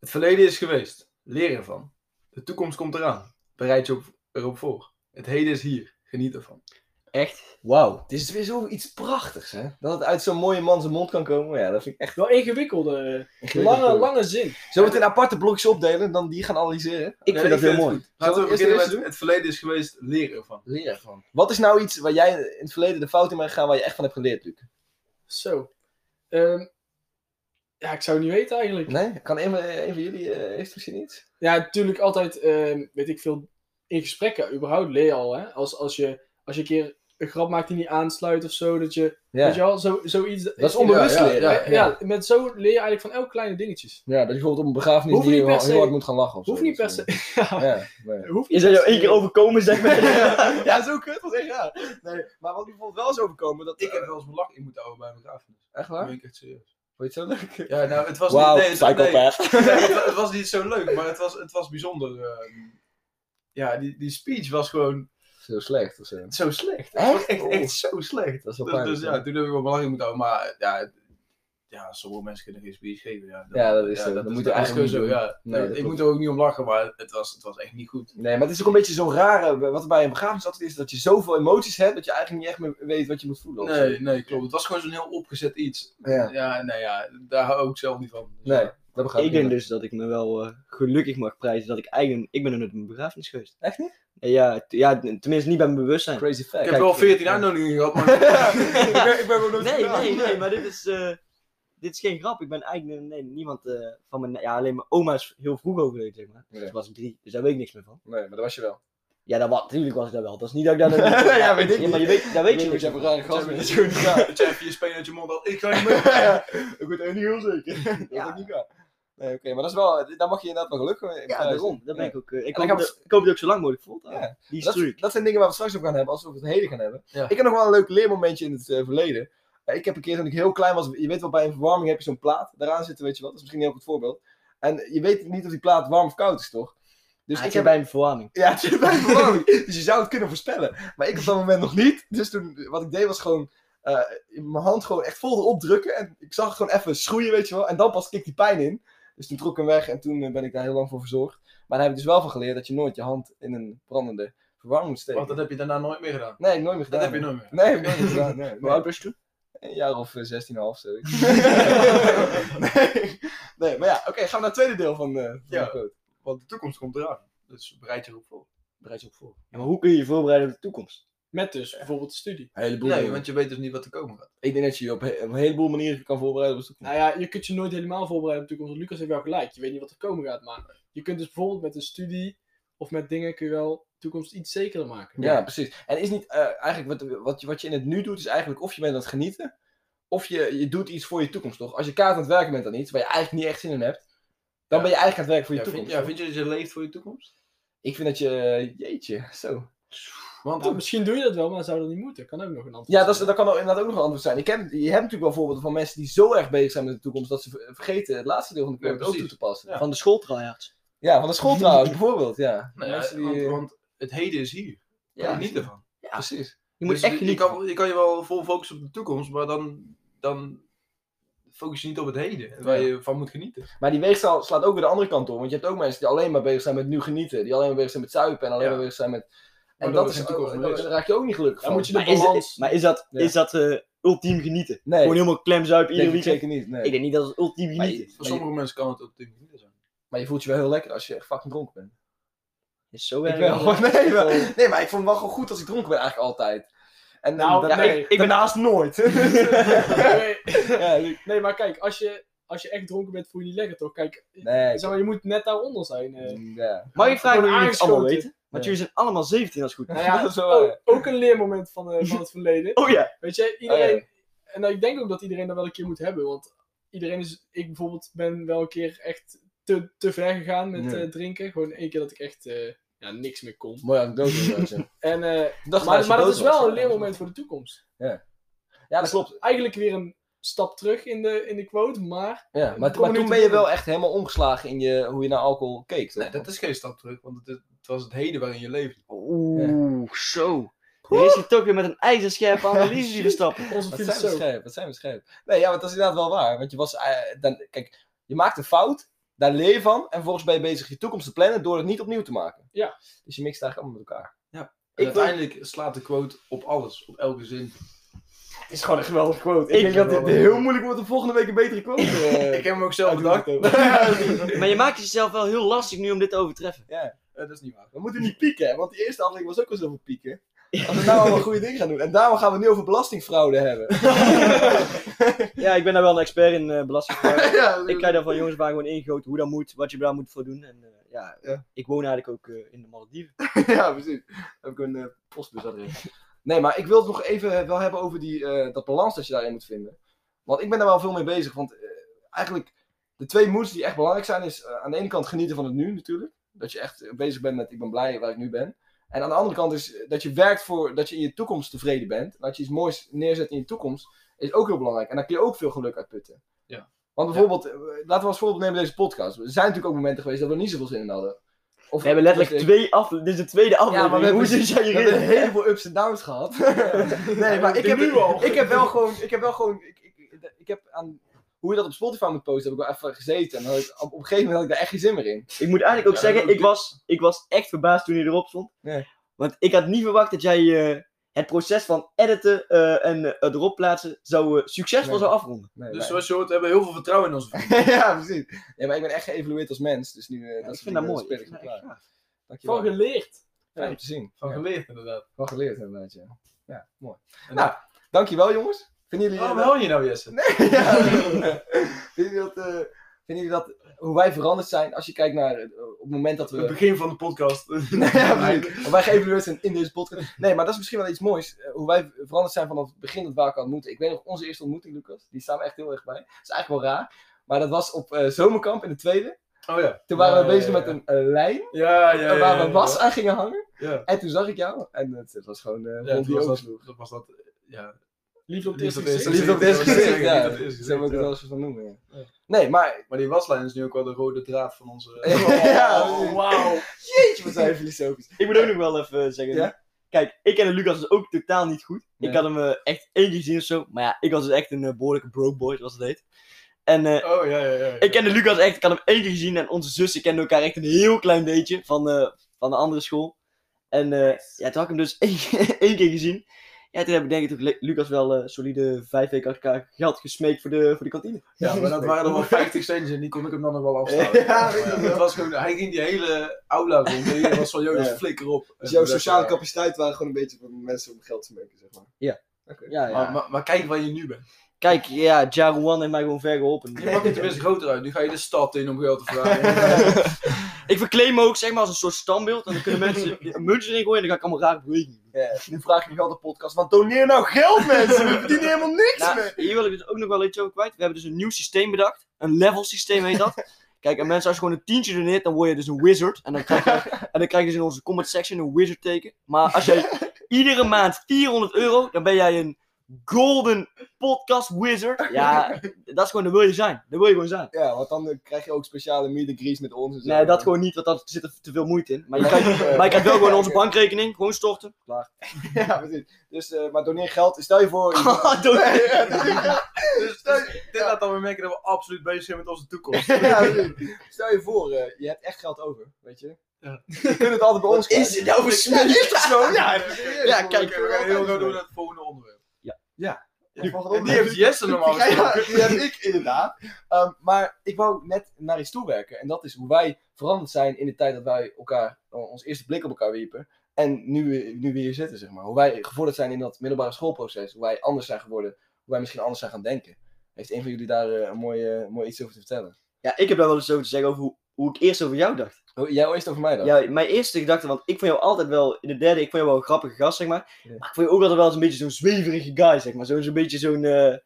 Het verleden is geweest. Leer ervan. De toekomst komt eraan. Bereid je op, erop voor. Het heden is hier. Geniet ervan.
Echt? Wauw.
Het is weer zoiets prachtigs, hè? Dat het uit zo'n mooie man zijn mond kan komen. Ja, dat vind ik echt...
Wel ingewikkelde, eh,
Ingewikkeld,
lange,
hoor.
lange zin.
Zullen we het in aparte blokjes opdelen en dan die gaan analyseren?
Ik
Ja,
vind dat heel mooi.
het goed. Laten
Zullen
we
we eerst
beginnen
eerst
met het verleden is geweest. Leer ervan.
Leer ervan. Wat is nou iets waar jij in het verleden de fout in bent gegaan waar je echt van hebt geleerd, Luc?
Zo. Ehm, ja, ik zou het niet weten eigenlijk.
Nee? Kan een, van- een van jullie, eh, heeft misschien iets?
Ja, natuurlijk altijd, ehm, weet ik veel, in gesprekken überhaupt leer je al. Hè? Als, als, je, als je een keer een grap maakt die niet aansluit of zo, dat je,
Ja.
weet je wel, zo, zoiets... Dat
is onbewust
ja,
leren,
Ja,
ja.
ja, met zo leer je eigenlijk van elk kleine dingetjes.
Ja, dat je bijvoorbeeld op een begrafenis
Hoeft niet
heel,
per
heel
se-
hard moet gaan lachen of
Hoeft
zo.
niet per se... Ja,
Ja, nee.
hoeft
Is
niet
dat
per
jou
se-
één keer overkomen, zeg maar?
ja, zo kut was echt raar. Nee, maar wat bijvoorbeeld wel is overkomen, dat
Ik heb wel eens mijn lak in moeten houden bij mijn begrafenis.
Echt
Dat
waar?
ben ik echt serieus.
Vond je het zo leuk?
Ja, nou, het was
Wauw,
niet... nee, het- nee.
psychopath.
Nee, het, wa- het was niet zo leuk, maar het was, het was bijzonder. ehm. ja, die, die speech was gewoon
Zo slecht of zo.
zo slecht. Het
Echt? Oh.
was echt, echt zo slecht.
Dat is wel
Dus,
pijnlijk.
dus ja, toen heb ik wel belangrijk moeten houden, maar ja, het- ja, sommige mensen kunnen geen speech geven. Ja,
Ja, dat is zo. Dat moet je
is
eigenlijk
gewoon
niet doen.
ja.
Nee, dat
ik
klopt.
moet er ook niet om lachen, maar het was, het was echt niet goed.
Nee, maar het is ook een beetje zo'n rare, wat er bij een begrafenis altijd is, dat je zoveel emoties hebt, dat je eigenlijk niet echt meer weet wat je moet voelen. of zo.
Nee, nee, klopt. Het was gewoon zo'n heel opgezet iets.
Ja.
Ja, nou ja, daar hou ik zelf niet van. Dus
Nee,
ja.
dat begrijp
ik denk dus dat ik me wel eh, gelukkig mag prijzen dat ik eigenlijk... Ik ben nog nooit op een begrafenis geweest.
Echt niet?
En Ja, t- ja, t- tenminste niet bij mijn bewustzijn.
Crazy fact.
Ik heb wel 14 uitnodigingen gehad, maar
ik ben ook nooit
Nee, nee, nee, maar dit is, eh, dit is geen grap. Ik ben eigenlijk nee, niemand eh, van mijn... Ja, alleen mijn oma is heel vroeg overleden, zeg maar.
Ja.
Dus was ik drie, dus daar weet ik niks meer van.
Nee, maar dat was je wel.
Ja, dat, wa- natuurlijk was ik dat wel. Dat is niet dat ik daar... nog-
Ja, weet ik
Ja, maar je weet, daar weet je niks meer van.
rare
gast
met
met.
zo'n ja.
dat je even je spelen uit je mond had. Ik ga niet meer.
Ik word er niet heel zeker. Dat
Ja.
is niet waar. Nee, oké, maar dat is wel, daar mag je inderdaad wel gelukkig mee
Ja, daarom. Daar ben ik ook... eh,
dan
ik, hoop
gaan we-
dat- ik hoop dat ik zo lang mogelijk vol te houden.
Ja. Dus
Die
Dat,
truc.
dat zijn dingen waar we straks op gaan hebben, als we over het heden gaan hebben.
Ja.
Ik heb nog wel een leuk leermomentje in het eh, verleden. Eh, ik heb een keer, toen ik heel klein was, je weet wel, bij een verwarming heb je zo'n plaat daaraan zitten, weet je wat. Dat is misschien een heel goed voorbeeld. En je weet niet of die plaat warm of koud is, toch? Dus
Dus
ik
ik
heb
bij een verwarming.
Ja, het zit bij de verwarming. dus je zou het kunnen voorspellen. Maar ik op dat moment nog niet. Dus toen, wat ik deed was gewoon eh, in mijn hand gewoon echt vol erop drukken. En ik zag het gewoon even schroeien, weet je wel. En dan pas kick die pijn in. Dus toen trok ik hem weg en toen eh, ben ik daar heel lang voor verzorgd. Maar daar heb ik dus wel van geleerd dat je nooit je hand in een brandende verwarming moet steken.
Want dat heb je daarna nooit meer gedaan.
Nee, ik heb nooit meer gedaan.
Dat heb je nooit meer.
Nee, ik heb nooit meer gedaan. Nee, nee.
was je toen?
Een jaar of eh, 16,5 zoiets. nee. nee, maar ja, oké, gaan we naar het tweede deel van, eh van
Ja.
de quote.
Want de toekomst komt eraan. Dus bereid je erop voor. Bereid je op voor.
Ja, maar hoe kun je je voorbereiden op de toekomst?
Met dus bijvoorbeeld de studie.
Een heleboel
Nee,
dingen.
want je weet dus niet wat er komen gaat.
Ik denk dat je je op he- op een heleboel manieren kan voorbereiden op de toekomst.
Nou ja, je kunt je nooit helemaal voorbereiden op de toekomst. want Lucas heeft wel gelijk. Je weet niet wat er komen gaat, maar je kunt dus bijvoorbeeld met een studie of met dingen kun je wel de toekomst iets zekerder maken.
Ja, precies. En is niet eh, eigenlijk wat, wat, je- wat je in het nu doet, is eigenlijk of je bent aan het genieten, of je, je doet iets voor je toekomst, toch? Als je kaart aan het werken bent aan iets waar je eigenlijk niet echt zin in hebt, Dan ben je eigenlijk aan het werk voor je
Ja, vind,
toekomst.
ja,
hoor.
vind je dat je leeft voor je toekomst?
Ik vind dat je, eh, jeetje, zo.
Want
Nou, misschien doe je dat wel, maar zou dat niet moeten. Kan ook nog een antwoord
Ja, dat, is,
zijn.
dat kan ook inderdaad ook nog een antwoord zijn. Ik heb, je hebt natuurlijk wel voorbeelden van mensen die zo erg bezig zijn met de toekomst dat ze ver- vergeten het laatste deel van de
Ja,
project ook toe
precies.
te passen. Ja,
Ja.
Van de schooltryhards.
van de school trouwens, bijvoorbeeld. Ja,
nou ja,
Mensen die,
want,
eh,
want het heden is hier.
ja,
Ja, niet ervan.
precies.
Je moet
Dus
echt
je
niet.
kan, je kan je wel vol focussen op de toekomst, maar dan, dan focus je niet op het heden, waar je van moet genieten.
Maar die weegschaal slaat ook weer de andere kant op. Want je hebt ook mensen die alleen maar bezig zijn met nu genieten. Die alleen maar bezig zijn met zuipen en alleen
Ja.
maar bezig zijn met... En
Waardoor
dat
de
is,
toekomst
ook-
niet
daar
is.
raak je ook niet gelukkig
Dan
van.
moet je de
Maar is,
balans...
het- maar is dat,
Ja.
is dat eh, ultiem genieten?
Nee,
Gewoon helemaal klem
nee,
iedere weekend.
zeker niet. Nee.
Ik denk niet dat het ultiem
Maar je-
genieten is.
Voor sommige mensen kan het op de manier zijn.
Maar je voelt je wel heel lekker als je echt fucking dronken bent.
Is zo
Ik
erg.
wel. Nee, maar, nee, maar ik vond het wel gewoon goed als ik dronken ben eigenlijk altijd. En
Nou,
daarna-
nee.
ik ben naast nooit.
Nee,
ja, Luc.
nee, maar kijk, als je, als je echt dronken bent, voel je niet lekker, toch? Kijk,
Nee, ik-
zeg maar, je moet net daaronder zijn. eh.
ja.
Mag ik vragen hoe jullie het
Aangeschoten.
allemaal weten? Want
Ja.
jullie zijn allemaal 17 als het goed is.
Nou ja,
Dat is wel Oh, waar,
ook, ook een leermoment van, eh, van het verleden.
Oh ja.
Weet je, iedereen.
Oh,
En ik denk ook dat iedereen dat wel een keer moet hebben. Want iedereen is. Ik bijvoorbeeld ben wel een keer echt te, te ver gegaan met
Ja.
eh, drinken. Gewoon één keer dat ik echt eh, ja, niks meer kon.
Mooi aan dood was, ja.
En, eh,
Ik dacht
maar
als je
maar dat
dood
is
was,
wel
ja.
een leermoment voor de toekomst.
Ja, dat klopt.
Eigenlijk weer een stap terug in de, in de quote. Maar
Ja, maar,
Kom
maar
nu
toen
te
ben je
binnen.
wel echt helemaal omgeslagen in je, hoe je naar alcohol keek. toch?
Nee, dat is geen stap terug, want het, het was het heden waarin je leeft.
Oeh, zo. Er is hij toch weer met een ijzerscherpe analyse die verstappen.
onze
Wat zijn we
filosoof.
scherp, wat zijn we scherp. Nee, ja, want dat is inderdaad wel waar. Want je was, eh, dan, kijk, je maakt een fout, daar leer je van, en vervolgens ben je bezig je toekomst te plannen door het niet opnieuw te maken.
Ja.
Dus je mixt eigenlijk allemaal met elkaar.
En
Ik wil-
uiteindelijk slaat de quote op alles, op elke zin.
Het is gewoon een geweldige quote.
Ik denk dat dit
heel moeilijk wordt om volgende week een betere quote eh,
Ik heb hem ook zelf bedacht.
Maar je maakt jezelf wel heel lastig nu om dit te overtreffen.
Eh, dat is niet waar.
We moeten niet pieken, hè, want die eerste aflevering was ook al zoveel pieken. Als we nou allemaal goede dingen gaan doen. En daarom gaan we het nu over belastingfraude hebben.
Ja, ik ben daar wel een expert in eh belastingvragen.
ja,
ik krijg daar van jongens waar gewoon ingegoten hoe dat moet, wat je daar moet voor doen. En eh, ja,
Ja.
ik woon eigenlijk ook eh, in de Malediven.
ja, precies. Heb ik een eh, postbusadres. Nee, maar ik wil het nog even wel hebben over die, eh, dat balans dat je daarin moet vinden. Want ik ben daar wel veel mee bezig. Want eh, eigenlijk, de twee moods die echt belangrijk zijn, is eh, aan de ene kant genieten van het nu natuurlijk. Dat je echt eh, bezig bent met ik ben blij waar ik nu ben. En aan de andere kant is eh, dat je werkt voor dat je in je toekomst tevreden bent. En dat je iets moois neerzet in je toekomst, is ook heel belangrijk. En daar kun je ook veel geluk uit putten.
Ja.
Want bijvoorbeeld, eh, laten we als voorbeeld nemen deze podcast. Er zijn natuurlijk ook momenten geweest dat we er niet zoveel zin in hadden. Of,
We hebben letterlijk twee afleveringen. Dit is de tweede aflevering.
we hebben- dus-
Hoe zit jij
we hebben
hierin?
een heleboel ups en downs gehad. nee, maar ik heb,
Nu al.
ik heb wel gewoon. Ik heb wel gewoon ik, ik, ik heb aan, hoe je dat op Spotify moet posten, heb ik wel even gezeten. En dan had ik- op, op een gegeven moment had ik daar echt geen zin meer in.
Ik moet eigenlijk ook
Ja,
zeggen,
dat-
ik was, ik was echt verbaasd toen je erop stond.
Nee.
Want ik had niet verwacht dat jij eh, het proces van editen eh, en eh, het erop plaatsen zou, eh, succesvol
Nee.
zou afronden.
Nee,
Dus
maar-
zoals je hoort, we hebben heel veel vertrouwen in onze vrienden.
ja, precies. Ja, maar ik ben echt geëvalueerd als mens. Dus nu. eh, dat
ik
is
vind dat mooi.
speel
Ik
ik
vind
me
dat echt
klaar.
gaaf.
Van
Dankjewel.
geleerd.
Fijn om te zien.
Van
Ja,
geleerd, inderdaad.
wel geleerd inderdaad, ja. Ja, mooi.
En-
nou, dankjewel jongens. Vinden jullie...
Waarom
eh,
hel je nou, Jesse?
Ja. vinden, jullie dat, eh, vinden jullie dat... Hoe wij veranderd zijn als je kijkt naar... eh, op het moment dat we...
Het begin van de podcast.
Nee, ja, precies. Want wij geëvalueerd zijn in deze podcast. Nee, maar dat is misschien wel iets moois. eh, Hoe wij veranderd zijn vanaf het begin dat we elkaar ontmoeten. Ik weet nog onze eerste ontmoeting, Lucas. Die staan we echt heel erg bij. Dat is eigenlijk wel raar. Maar dat was op eh, zomerkamp in de tweede.
Oh ja.
Toen waren
Ja,
we
ja,
bezig
ja,
met een eh, lijn
Ja, ja, ja.
waar
ja,
we
ja.
was aan gingen hangen.
Ja.
En toen zag ik jou. En het, het was gewoon eh rond
Ja, toen
die
was
ogen.
dat, dat was dat, ja.
Liefde op het
Liefde
eerste
op het eerste
gezicht.
Liefde op het eerste
dat wil ik
gezicht,
zeggen,
ja.
niet op het eerste
Zo moet ik het
gezicht,
wel eens van noemen, ja.
Ja.
Nee, maar...
Maar die waslijn is nu ook wel de rode draad van onze...
Ja,
Oh, wauw.
jeetje, wat zijn we filosofisch.
Ik moet ook nog wel even zeggen.
Ja?
Kijk, ik ken Lucas dus ook totaal niet goed.
Nee.
Ik had hem eh, echt één keer gezien of zo. Maar ja, ik was dus echt een eh, behoorlijke broke boy, zoals het heet. En eh,
Oh, ja, ja, ja. ja.
ik kende Lucas echt, ik had hem één keer gezien. En onze zussen kenden elkaar echt een heel klein beetje van, eh, van de andere school. En eh, ja, toen had ik hem dus één, één keer gezien. Ja, toen heb ik denk ik toch Le- Lucas wel eh, solide vijf weken achter elkaar geld gesmeekt voor de, voor de kantine.
Ja, maar dat waren dan wel 50 cents en die kon ik hem dan nog wel afstaan.
Ja, weet ik
Maar
wel.
het was gewoon, hij ging die hele aula rond. En iedereen was van, joh, dat
Ja.
flikker op.
Dus jouw
En
sociale
dat-
capaciteit waren gewoon een beetje van mensen om geld te maken, zeg maar.
Ja, ja.
Maar, maar, maar kijk waar je nu bent.
Kijk, ja, Jaruan heeft mij gewoon ver geholpen.
Je maakt het tenminste groter uit. Nu ga je de stad in om geld te vragen.
Ik verkleed me ook zeg maar als een soort standbeeld. En dan kunnen mensen een muntje erin gooien en dan ga ik allemaal raar bewegingen doen.
Ja, nu vraag ik je wel de podcast, want doneer nou geld mensen, we verdienen helemaal niks
Nou,
meer.
hier wil ik dus ook nog wel iets over kwijt. We hebben dus een nieuw systeem bedacht. Een level systeem heet dat. Kijk, en mensen, als je gewoon een tientje doneert, dan word je dus een wizard. En dan krijg je, en dan krijg je dus in onze comment section een wizard teken. Maar als jij iedere maand 400 euro, dan ben jij een golden podcast wizard. Ja, dat is gewoon, dat wil je zijn. Dat wil je gewoon zijn.
Ja, want dan eh, krijg je ook speciale meet and greets met ons. En zo.
Nee, dat gewoon niet, want daar zit er te veel moeite in. Maar je, krijgt, maar je krijgt wel gewoon onze bankrekening, gewoon storten. Klaar.
Ja, precies. Dus, eh, maar doneer geld. Stel je voor... je-
Dus, dus dit laat dan weer merken dat we absoluut bezig zijn met onze toekomst.
Ja, precies. Stel je voor, eh, je hebt echt geld over, weet je.
Ja.
Je kunt het altijd bij ons krijgen.
dit nou voor
is dat zo?
Ja,
Ja,
ja
kijk,
kijk, we gaan heel gauw door naar het volgende onderwerp.
Ja, volgende
En die
onderwerp.
heeft Jesse normaal
Ja, ja,
gesproken.
die heb ik inderdaad. Ehm, maar ik wou net naar iets toe werken. En dat is hoe wij veranderd zijn in de tijd dat wij elkaar, o- ons eerste blik op elkaar wierpen. En nu, we- nu we hier zitten, zeg maar. Hoe wij gevorderd zijn in dat middelbare schoolproces. Hoe wij anders zijn geworden. Hoe wij misschien anders zijn gaan denken. Heeft een van jullie daar eh, een mooi, eh, mooi iets over te vertellen?
Ja, ik heb daar wel eens over te zeggen over hoe, hoe ik eerst over jou dacht.
Oh, jij eerst over mij dan?
Ja, mijn eerste gedachte, want ik vond jou altijd wel, in de derde, ik vond jou wel een grappige gast, zeg maar.
Ja.
Maar ik vond je ook altijd wel eens een beetje zo'n zweverige guy, zeg maar. Zo'n zo'n beetje zo'n, eh,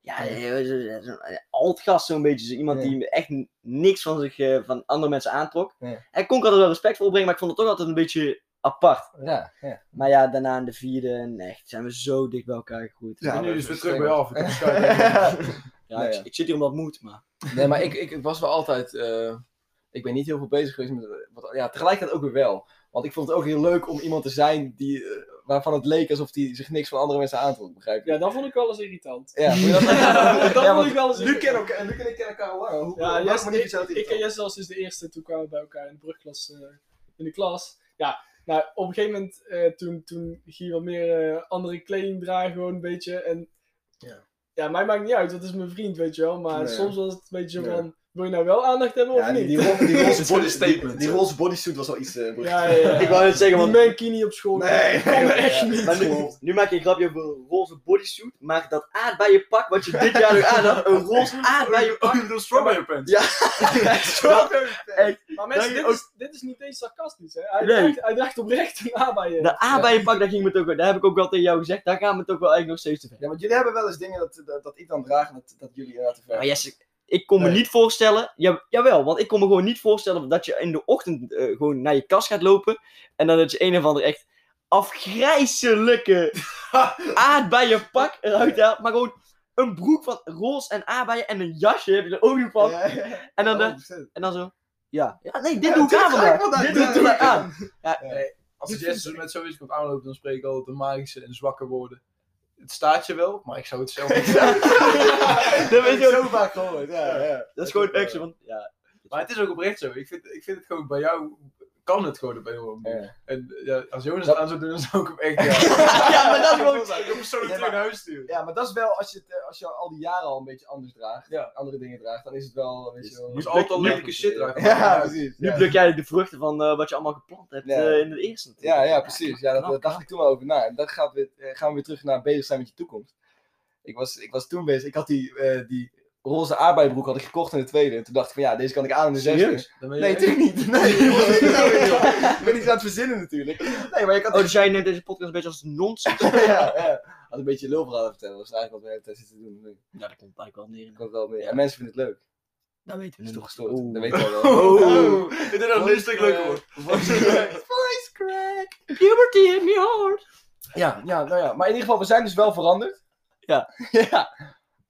ja, eh, zo'n zo'n alt gast, zo'n beetje. Zo iemand
Ja.
die echt n- niks van zich, eh, van andere mensen aantrok.
Ja.
En ik kon ik altijd wel respect voor opbrengen, maar ik vond het toch altijd een beetje apart.
Ja, ja.
Maar ja, daarna in de vierde, en echt, zijn we zo dicht bij elkaar gegroeid.
Ik ben nu
dat is
dus weer terug
streng.
bij jou af. Ik heb schuiven.
Ja,
Nou
ik,
ja.
ik zit hier omdat het moet, maar...
Nee, maar ik, ik was wel altijd. eh, ik ben niet heel veel bezig geweest met. wat- ja, tegelijkertijd ook weer wel. Want ik vond het ook heel leuk om iemand te zijn die, eh, waarvan het leek alsof hij zich niks van andere mensen aantrok, begrijp je?
Ja, dat vond ik wel eens irritant.
Ja, vond je dat-
dat
Ja,
vond
want
ik wel eens
Nu
irritant.
kennen elkaar- Luc en ik kennen elkaar al lang. Hoe- op
Ja,
welke
Jesse,
manier
ik,
vind je dat
ik en
irritant?
Jesse was dus de eerste, toen kwamen we bij elkaar in de brugklas, eh, in de klas. Ja, nou, op een gegeven moment, eh, toen, toen ging je wat meer eh, andere kleding dragen, gewoon een beetje. En
Ja.
ja, mij maakt niet uit, dat is mijn vriend, weet je wel. Maar
Nee.
soms was het een beetje zo
Nee.
van, wil je nou wel aandacht hebben of
Ja, die,
niet?
die, roze- die
Dat
roze
is voor de
body-
statement.
Die, die roze bodysuit was wel iets. eh, bruut.
Ja, ja, ja.
Ik wou net zeggen,
Die
want...
mankini op school.
Nee.
dat kan echt niet.
Maar nu, nu maak je een grapje over een roze bodysuit, maar dat aard bij je pak, wat je dit jaar nog aan had, een roze aard bij je pak.
Oh, je bedoelt strawberry pants.
Ja.
Maar mensen,
Dat je
dit, is, dit is niet eens sarcastisch, hè. Hij,
Nee.
dacht, hij dacht oprecht na bij je.
De A bij je pak, daar, ging me het ook, daar heb ik ook wel tegen jou gezegd, daar gaan we het ook wel eigenlijk nog steeds te ver.
Ja, want jullie hebben wel eens dingen dat, dat, dat ik dan draag en dat, dat jullie inderdaad te ver.
Maar Jesse, ik kon me
Nee.
niet voorstellen, ja, jawel, want ik kon me gewoon niet voorstellen dat je in de ochtend eh, gewoon naar je kast gaat lopen en dan dat je een of ander echt afgrijzelijke aard bij je pak eruit haalt, maar gewoon een broek van roze en aardbeien en een jasje heb je er ook nog van.
Ja, ja, ja.
En dan, de-
100%.
en dan zo, ja. Ja, nee, dit
Ja,
doe ik
dit
aan
ga ik
vandaag.
vandaag
Dit
doen.
doe ik aan.
Als Jesse met zoiets komt aanlopen, dan spreek ik altijd de magische en zwakke woorden. Het staat je wel, maar ik zou het zelf niet zeggen.
Dat
Dat
is,
heb ik
ook-
zo vaak gehoord. Ja, ja.
dat is gewoon echt zo van, ja.
Maar het is ook oprecht zo. Ik vind, ik vind het gewoon bij jou, kan het gewoon op een of andere manier.
Ja.
En ja, als Jonas
Dat-
het aan zou doen, dan zou ik hem echt. Ja,
Ja, maar dat is gewoon...
ik hem persoonlijk
Ja,
terug
maar-
naar huis sturen.
Ja, maar dat is wel, als je, het, eh, als je al die jaren al een beetje anders draagt,
Ja.
andere dingen draagt, dan is het wel, weet je wel...
Dus altijd al lelijke shit dragen.
Ja, precies.
Nu
Ja,
pluk jij de vruchten van eh, wat je allemaal geplant hebt
Ja.
eh, in het eerste. natuurlijk.
ja, ja, precies. Ja, dat,
knap,
daar dacht ik toen wel over na. En dan gaat weer, eh, gaan we weer terug naar bezig zijn met je toekomst. Ik was, ik was toen bezig, ik had die, eh, die roze aardbeibroek had ik gekocht in de tweede. En toen dacht ik van ja, deze kan ik aan in de zesde.
Dan ben je
Nee,
echt-
natuurlijk niet. Nee, wat doe je nou weer, joh? ik ben iets aan het verzinnen natuurlijk. Nee, maar ik had...
Oh, dus jij neemt deze podcast een beetje als nonsens.
ja, ja. Had een beetje lulverhalen vertellen. Dat is eigenlijk wat we de hele tijd zitten te doen. nu.
ja, dat komt eigenlijk wel neer.
Ik had wel meer. En mensen vinden het leuk.
Dat weten
Dat
we
is toch gestoord.
nog. Oeh.
Dat weten we wel.
Oh, ik denk dat het een stuk leuker wordt.
Voice crack! Puberty in your heart!
Ja, ja, nou ja. Maar in ieder geval, we zijn dus wel veranderd.
Ja.
ja.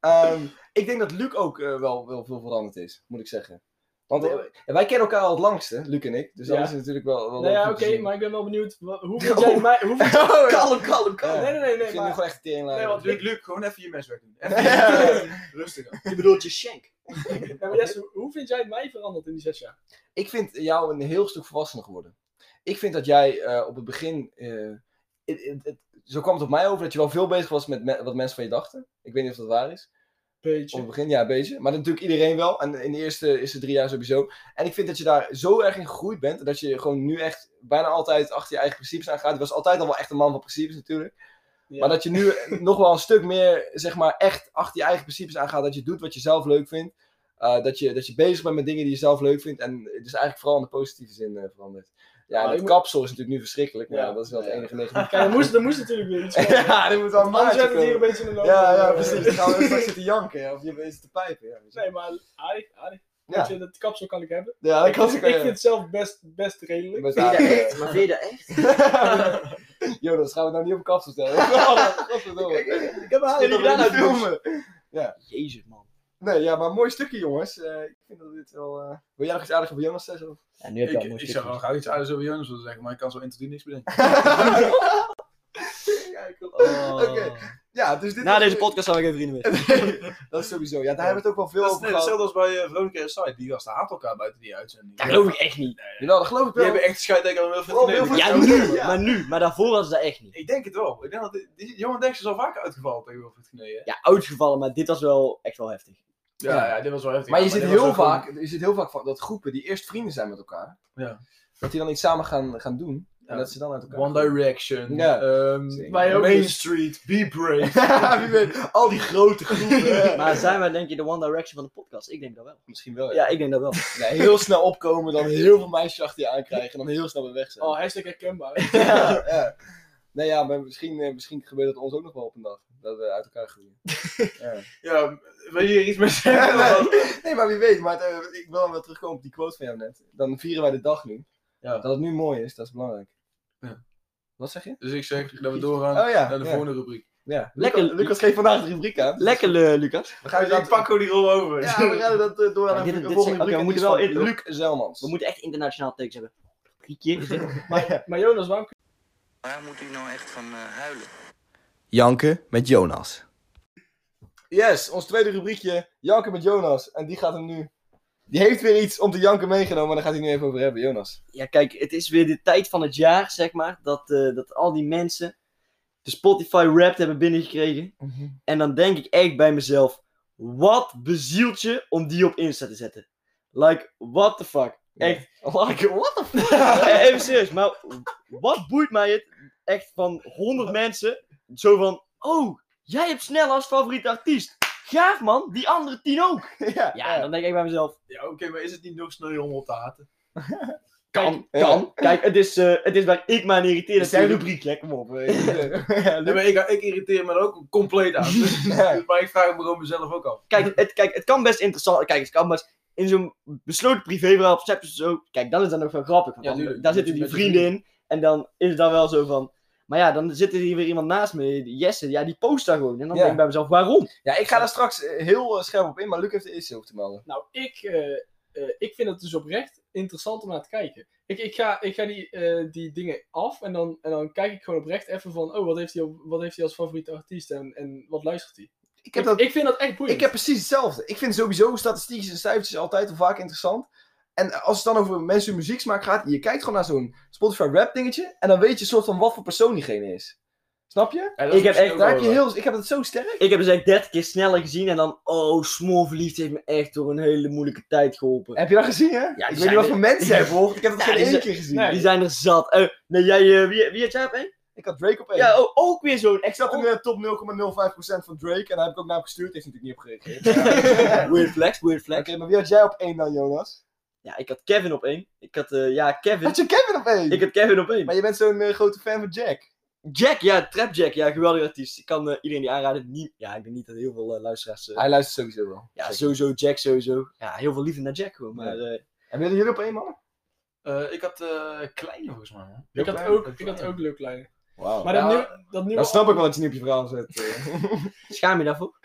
Ehm, ik denk dat Luc ook eh, wel, wel veel veranderd is, moet ik zeggen. Want eh, wij kennen elkaar al het langste, Luc en ik. Dus dat
Ja.
is natuurlijk wel. wel
Nou ja,
goed
oké,
te zien.
maar ik ben wel benieuwd, wa- hoe vind jij mij... Hoe vind...
Kalm, kalm, kalm.
Ja.
Nee, nee, nee,
Ik
nee,
vind nu
maar...
gewoon echt teringlijn.
Nee, want-
Luc, Luc, gewoon even je mes wegdoen. Rustig aan.
Je bedoelt je shank.
Ja, maar Jesse, hoe- hoe vind jij mij veranderd in die zes jaar?
Ik vind jou een heel stuk volwassener geworden. Ik vind dat jij eh, op het begin. eh, het- het- het- zo kwam het op mij over dat je wel veel bezig was met me- wat mensen van je dachten. Ik weet niet of dat waar is. Op
Beetje.
het begin, ja, bezig. Maar dat natuurlijk iedereen wel. En in de eerste, eerste drie jaar sowieso. En ik vind dat je daar zo erg in gegroeid bent. en Dat je gewoon nu echt bijna altijd achter je eigen principes aan gaat. Je was altijd al wel echt een man van principes natuurlijk.
Ja.
Maar dat je nu nog wel een stuk meer, zeg maar, echt achter je eigen principes aan gaat. Dat je doet wat je zelf leuk vindt. Eh, dat, je, dat je bezig bent met dingen die je zelf leuk vindt. En het is eigenlijk vooral in de positieve zin eh, veranderd. Ja,
Ja,
en
Ah, ik
het
moet-
kapsel is natuurlijk nu verschrikkelijk. Maar
Ja.
ja, dat is wel het
Ja.
enige negatieve.
Kijk, er moest, er moest natuurlijk weer iets komen.
ja, dat moet wel een
Anders
maatje
hebben we het hier
komen.
een beetje in de loop.
Ja, ja,
Eh,
precies. Dan gaan we straks zitten janken. ja, Of je zitten pijpen. Ja, weet je.
Nee, maar aardig, aardig. Weet je, dat kapsel kan ik hebben.
Ja, dat
ik,
kan
ik
ik eh,
vind het zelf best, best redelijk.
Best
Vind je dat
aardig.
echt? Maar vind je dat echt?
Jonas, gaan we nou niet op kapsel stellen? Godverdomme.
Ik heb haar
Stel dat we niet
filmen.
filmen.
Jezus, man.
Nee, ja, maar mooi stukje, jongens. Eh, ik vind dat dit wel... eh, Wil jij nog iets aardigs over Jonas zeggen? Of-
Ja, nu heb je al
Ik,
mooi
ik zou wel graag iets aardigs over Jonas willen zeggen, maar ik kan zo 1 tot 10 niks bedenken.
Oké. Ja, dus dit
Oh. Na
was-
deze podcast zou ik geen vrienden meer.
dat is sowieso. Ja, daar hebben we het ook wel veel
Dat is
over
net
gehad.
hetzelfde als bij eh, Veronica Side. Die gasten haat elkaar buiten die uitzending.
Dat geloof ik echt niet.
Jawel, dat geloof ik
Die
wel.
hebben echt scheid tegen Wilfred
Oh,
Genee.
Wilfred
Ja,
Genee.
nu.
Ja.
Maar nu. Maar daarvoor was dat echt niet.
Ik denk het wel. Ik denk dat die- die- Johan Derksen is al vaker uitgevallen tegen Wilfred Genee. hè?
Ja, uitgevallen, maar dit was wel echt wel heftig.
Ja, ja, dit was wel heftig.
Maar je
Ja,
ziet
dit was
heel
ook gewoon-
vaak, je ziet heel vaak van dat groepen die eerst vrienden zijn met elkaar,
Ja.
dat die dan iets samen gaan, gaan doen. En
Ja.
dat ze dan uit elkaar
One Direction,
Ja.
ehm,
Wij ook
Main
dus.
Street, Be Brave.
Ja, wie weet, al die grote groepen.
Maar zijn wij denk je de One Direction van de podcast? Ik denk dat wel.
Misschien wel,
Ja,
ja.
ik denk dat wel.
Nee, heel snel opkomen, dan heel veel meisjes achter je aankrijgen en dan heel snel weer weg zijn.
Oh, hashtag herkenbaar.
ja, ja. Nee, ja, maar misschien, eh, misschien gebeurt dat ons ook nog wel op een dag. Dat we uit elkaar groeien.
ja, wil je hier iets mee zeggen?
nee, maar wie weet. Maar het, eh, ik wil dan wel terugkomen op die quote van jou net. Dan vieren wij de dag nu.
Ja.
Dat het nu mooi is, dat is belangrijk.
Ja.
Wat zeg je?
Dus ik zeg dat we doorgaan
Oh ja,
naar de
ja.
volgende rubriek.
Ja.
Lekker.
Lucas, Lucas geeft vandaag de rubriek aan.
Lekker, eh, Lucas.
We gaan
Dus ik pak gewoon die rol over.
Ja, we gaan dat eh, door
Ja,
aan
dit-
de
dit
volgende
zeg-
rubriek.
oké, we
en
moeten
die is
wel
van
in, hoor.
Luc Zelmans.
We moeten echt internationaal tekens hebben. Griekje.
Maar Jonas, waarom
Waar moet u nou echt van eh, huilen?
Janken met Jonas.
Yes, ons tweede rubriekje. Janken met Jonas. En die gaat hem nu... Die heeft weer iets om te janken meegenomen, maar daar gaat hij nu even over hebben. Jonas.
Ja, kijk, het is weer de tijd van het jaar, zeg maar, dat, eh, dat al die mensen de Spotify Wrapped hebben binnengekregen.
Mhm.
En dan denk ik echt bij mezelf, wat bezielt je om die op Insta te zetten? Like, what the fuck? Echt.
Like, what the fuck?
Eh, Even serieus, maar wat boeit mij het echt van 100 mensen? Zo van, oh, jij hebt snel als favoriete artiest. Gaaf man, die andere tien ook.
ja,
Ja, dan denk ik bij mezelf,
Ja, oké, maar is het niet nog sneller om op te haten?
kan,
Ja.
kan. Kijk, het is, eh, het is waar ik me aan irriteer.
Dit is zijn
natuurlijk.
rubriek, hè? Kom op. eh. ja,
Nee,
Luc.
maar ik, ik irriteer me er ook compleet aan. Dus-
Ja.
Maar ik vraag het me gewoon mezelf ook af.
Kijk, het, kijk, het kan best interessant. Kijk, het kan best in zo'n besloten privéverhaal op Snapchat of zo. Kijk, dan is dat nog wel grappig. Want
Ja,
dan-
tuurlijk.
daar
Met
zitten
je-
die
met je
vrienden in. En dan is het dan wel zo van. Maar ja, dan zit er hier weer iemand naast me, die Jesse. Ja, die post daar gewoon. En dan
Ja.
denk ik bij mezelf, waarom?
Ja, ik ga daar straks eh, heel eh, scherp op in, maar Luc heeft de eerste over te melden.
Nou, ik, eh, eh, ik vind het dus oprecht interessant om naar te kijken. Ik, ik ga, ik ga die, eh, die dingen af en dan, en dan kijk ik gewoon oprecht even van... Oh, wat heeft hij, op- wat heeft hij als favoriete artiest en, en wat luistert hij?
Ik heb, dat, ik,
ik vind dat echt boeiend.
heb precies hetzelfde. Ik vind sowieso statistiekjes en cijfertjes altijd al vaak interessant. En eh, als het dan over mensen hun muzieksmaak gaat, je kijkt gewoon naar zo'n Spotify rap dingetje. En dan weet je soort van wat voor persoon diegene is. Snap je?
Ja, dat is
Ik heb
misschien
echt-
ook
Daar
wel
heb je
waar.
heel, ik heb dat zo sterk.
Ik heb dus echt 30 keer sneller gezien. En dan, oh, smoorverliefd heeft me echt door een hele moeilijke tijd geholpen.
Heb je dat gezien, hè? ik weet
zijn
niet wat
er-
voor mensen jij volgt. Ik heb dat
Ja,
geen
die
één
zijn-
keer gezien.
Nee.
Die zijn er zat. Eh, nee, jij, eh, wie, wie had jij op één?
Ik had Drake op één.
Ja, oh, ook weer zo'n
ik zat
extra.
in de top 0,05% van Drake. En daar heb ik ook naar hem gestuurd. Heeft hij natuurlijk niet op gereageerd. Maar
Weird flex, weird
ja.
flex.
Oké, maar wie had jij op één dan, Jonas?
Ja, ik had Kevin op één. Ik had, eh, ja, Kevin.
Had je Kevin op één?
Ik had Kevin op één.
Maar je bent zo'n eh, grote fan van Jack.
Jack, ja, Trap Jack, ja, geweldige artiest. Ik kan eh, iedereen die aanraden, niet, ja, ik denk niet dat heel veel eh, luisteraars, eh,
Hij luistert sowieso wel.
ja, sowieso Jack, sowieso. Ja, heel veel liefde naar Jack gewoon, maar eh,
En willen jullie op één man?
Eh, ik had eh Kleine volgens mij. man.
ik had
Ja,
ook, ik
Kleine.
had ook leuk lijnen.
Wauw.
Maar
dan,
dat,
Ja.
nieuwe- dat nieuwe...
snap ik wel dat je niet op je verhaal zet. eh.
schaam je daarvoor?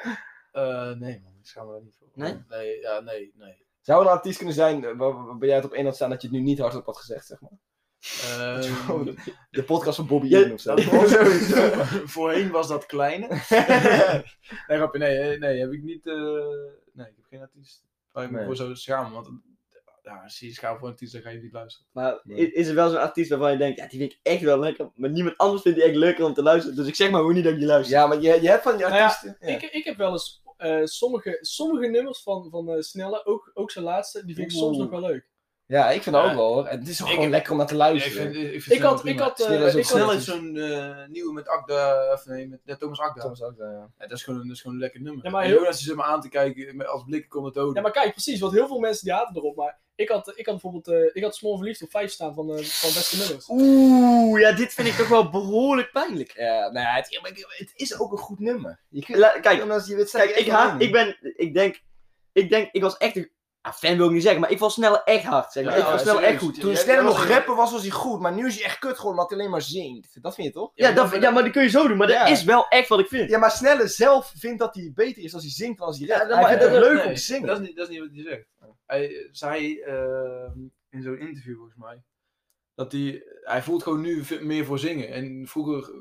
Eh, nee man, ik schaam me daar niet voor.
Nee?
Nee, ja, nee, nee.
Zou een artiest kunnen zijn eh, waar, waarbij jij het op één had staan dat je het nu niet hardop had gezegd, zeg maar?
Eh,
De podcast van Bobby
Ja,
Ian of zo.
dat was zoiets. Voorheen was dat Kleine. nee, grapje, nee, eh, nee, heb ik niet... eh, nee, ik heb geen artiest waar ik me
Nee.
voor zou schamen. Want ja, als je je schaamt voor een artiest, dan ga je niet luisteren.
Maar i-
Nee.
is er wel zo'n artiest waarvan je denkt, ja, die vind ik echt wel lekker, maar niemand anders vindt die echt leuker om te luisteren, dus ik zeg maar hoe niet dat ik die luister.
Ja, maar je, je hebt van die
Nou ja,
artiesten... ja.
Ik, ik heb wel eens eh, sommige, sommige nummers van, van eh, Snelle, ook, ook zijn laatste, die vind ik soms
Oeh.
nog wel leuk.
Ja, ik vind dat
Ja.
ook wel hoor. En Het is ook
Ik-
gewoon lekker om naar te
Nee,
luisteren.
ik vind
Ik
het
had, ik
prima.
had, eh,
Snelle is ook
ik had
Snel is zo'n eh, nieuwe met Agda, of nee, met eh, Thomas Agda.
Soms ook, ja.
Ja, dat, is gewoon, dat is gewoon een lekker nummer.
Ja, maar
En
heel-
Jonas is hem aan te kijken met, als blikken komt het dood.
Ja, maar kijk, precies, want heel veel mensen die haten erop. Maar ik had, ik had bijvoorbeeld, eh, ik had Small Verliefd op 5 staan van, eh, van beste nummers.
Oeh, ja, dit vind ik toch wel behoorlijk pijnlijk.
Ja, nou ja, het, ja, maar ik- het is ook een goed nummer. Je kunt,
La- kijk,
Jonas, je weet
kijk, ik haat, ik ben, ik denk, ik denk, ik was echt een ah, fan wil ik niet zeggen, maar ik val sneller echt hard. Zeg maar.
Ja,
ik val
ja,
sneller
serieus.
echt goed.
Ja,
Toen
jij-
Sterren
jij
nog
was een-
rapper was, was hij goed. Maar nu is hij echt kut geworden omdat hij alleen maar zingt. Dat vind je toch?
Ja, dat, ja, maar dat kun je zo doen, maar
Ja.
dat is wel echt wat ik vind.
Ja, maar Snelle zelf vindt dat hij beter is als hij zingt dan als hij
Ja,
rapt.
dat-
hij
maar-
vindt het
dat-
leuk
nee,
om te zingen.
Dat is, niet, dat is niet wat hij zegt. Hij zei ehm, in zo'n interview volgens mij dat hij, hij voelt gewoon nu ve- meer voor zingen. En vroeger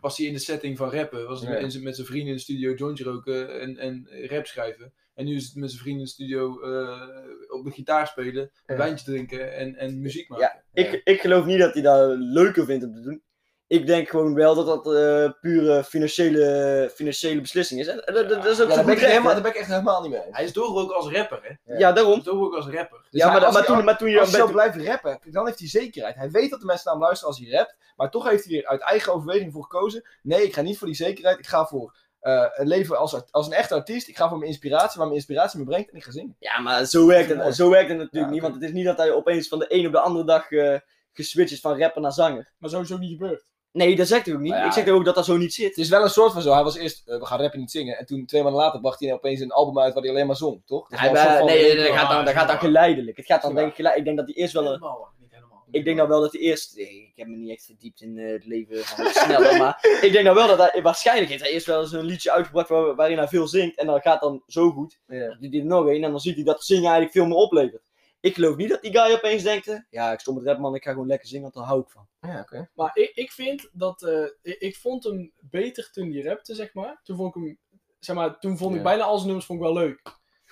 was hij in de setting van rappen, was hij
Ja.
met- met zijn vrienden in de studio jointje roken en, en rap schrijven. En nu is het met zijn vrienden in de studio eh, op de gitaar spelen, een wijntje drinken en, en muziek maken.
Ik, ik geloof niet dat hij dat leuker vindt om te doen. Ik denk gewoon wel dat dat eh, pure financiële, financiële beslissing is. En, dat- dat, dat is ook
Ja,
zo
daar ben,
goed
ik
recht,
helemaal,
hè?
daar ben ik echt helemaal niet mee eens.
Hij is doorgebroken als rapper, hè?
Ja, daarom.
Hij is doorgebroken als rapper.
Dus
ja,
hij-
maar,
als
maar,
hij-
toen, maar toen je...
als je
bent-
zo blijft rappen, kijk, dan heeft hij zekerheid. Hij weet dat de mensen naar hem luisteren als hij rapt. Maar toch heeft hij er uit eigen overweging voor gekozen. Nee, ik ga niet voor die zekerheid. Ik ga voor eh, een leven als, art- als een echte artiest. Ik ga voor mijn inspiratie, waar mijn inspiratie me brengt. En ik ga zingen.
Ja, maar zo werkt
Dat is mooi.
het, zo werkt het natuurlijk
Ja,
niet. Want het is niet dat hij opeens van de een op de andere dag eh, geswitcht is van rapper naar zanger.
Maar sowieso niet gebeurd.
Nee, dat zegt hij ook niet.
Maar ja.
Ik zeg ook dat dat zo niet
Het
zit.
is wel een soort van zo. Hij was eerst, eh, we gaan rappen niet zingen. En toen, twee maanden later, bracht hij opeens een album uit waar hij alleen maar zong, toch? Dat is
Hij,
wel een soort
nee,
van-
nee, nee, dat gaat dan, dat gaat dan geleidelijk. Het gaat dan
Ja.
denk ik geleidelijk. Ik denk dat hij eerst wel... een-
helemaal, man. niet helemaal.
Ik denk dan wel dat hij eerst... nee, Ik heb me niet echt verdiept in eh, het leven van de sneller, maar... Ik denk dan wel dat hij... Waarschijnlijk heeft hij eerst wel eens een liedje uitgebracht waar- waarin hij veel zingt. En dat gaat dan zo goed.
Ja.
doet hij er nog één en dan ziet hij dat zingen eigenlijk veel meer oplevert. Ik geloof niet dat die guy opeens denkt, eh, ja, ik stond met rap man, ik ga gewoon lekker zingen, want daar hou ik van.
Ja, oké.
Maar ik, ik vind dat. eh, ik, ik vond hem beter toen hij rapte, zeg maar. Toen vond ik hem. Zeg maar, toen vond
Ja.
ik bijna al zijn nummers vond ik wel leuk.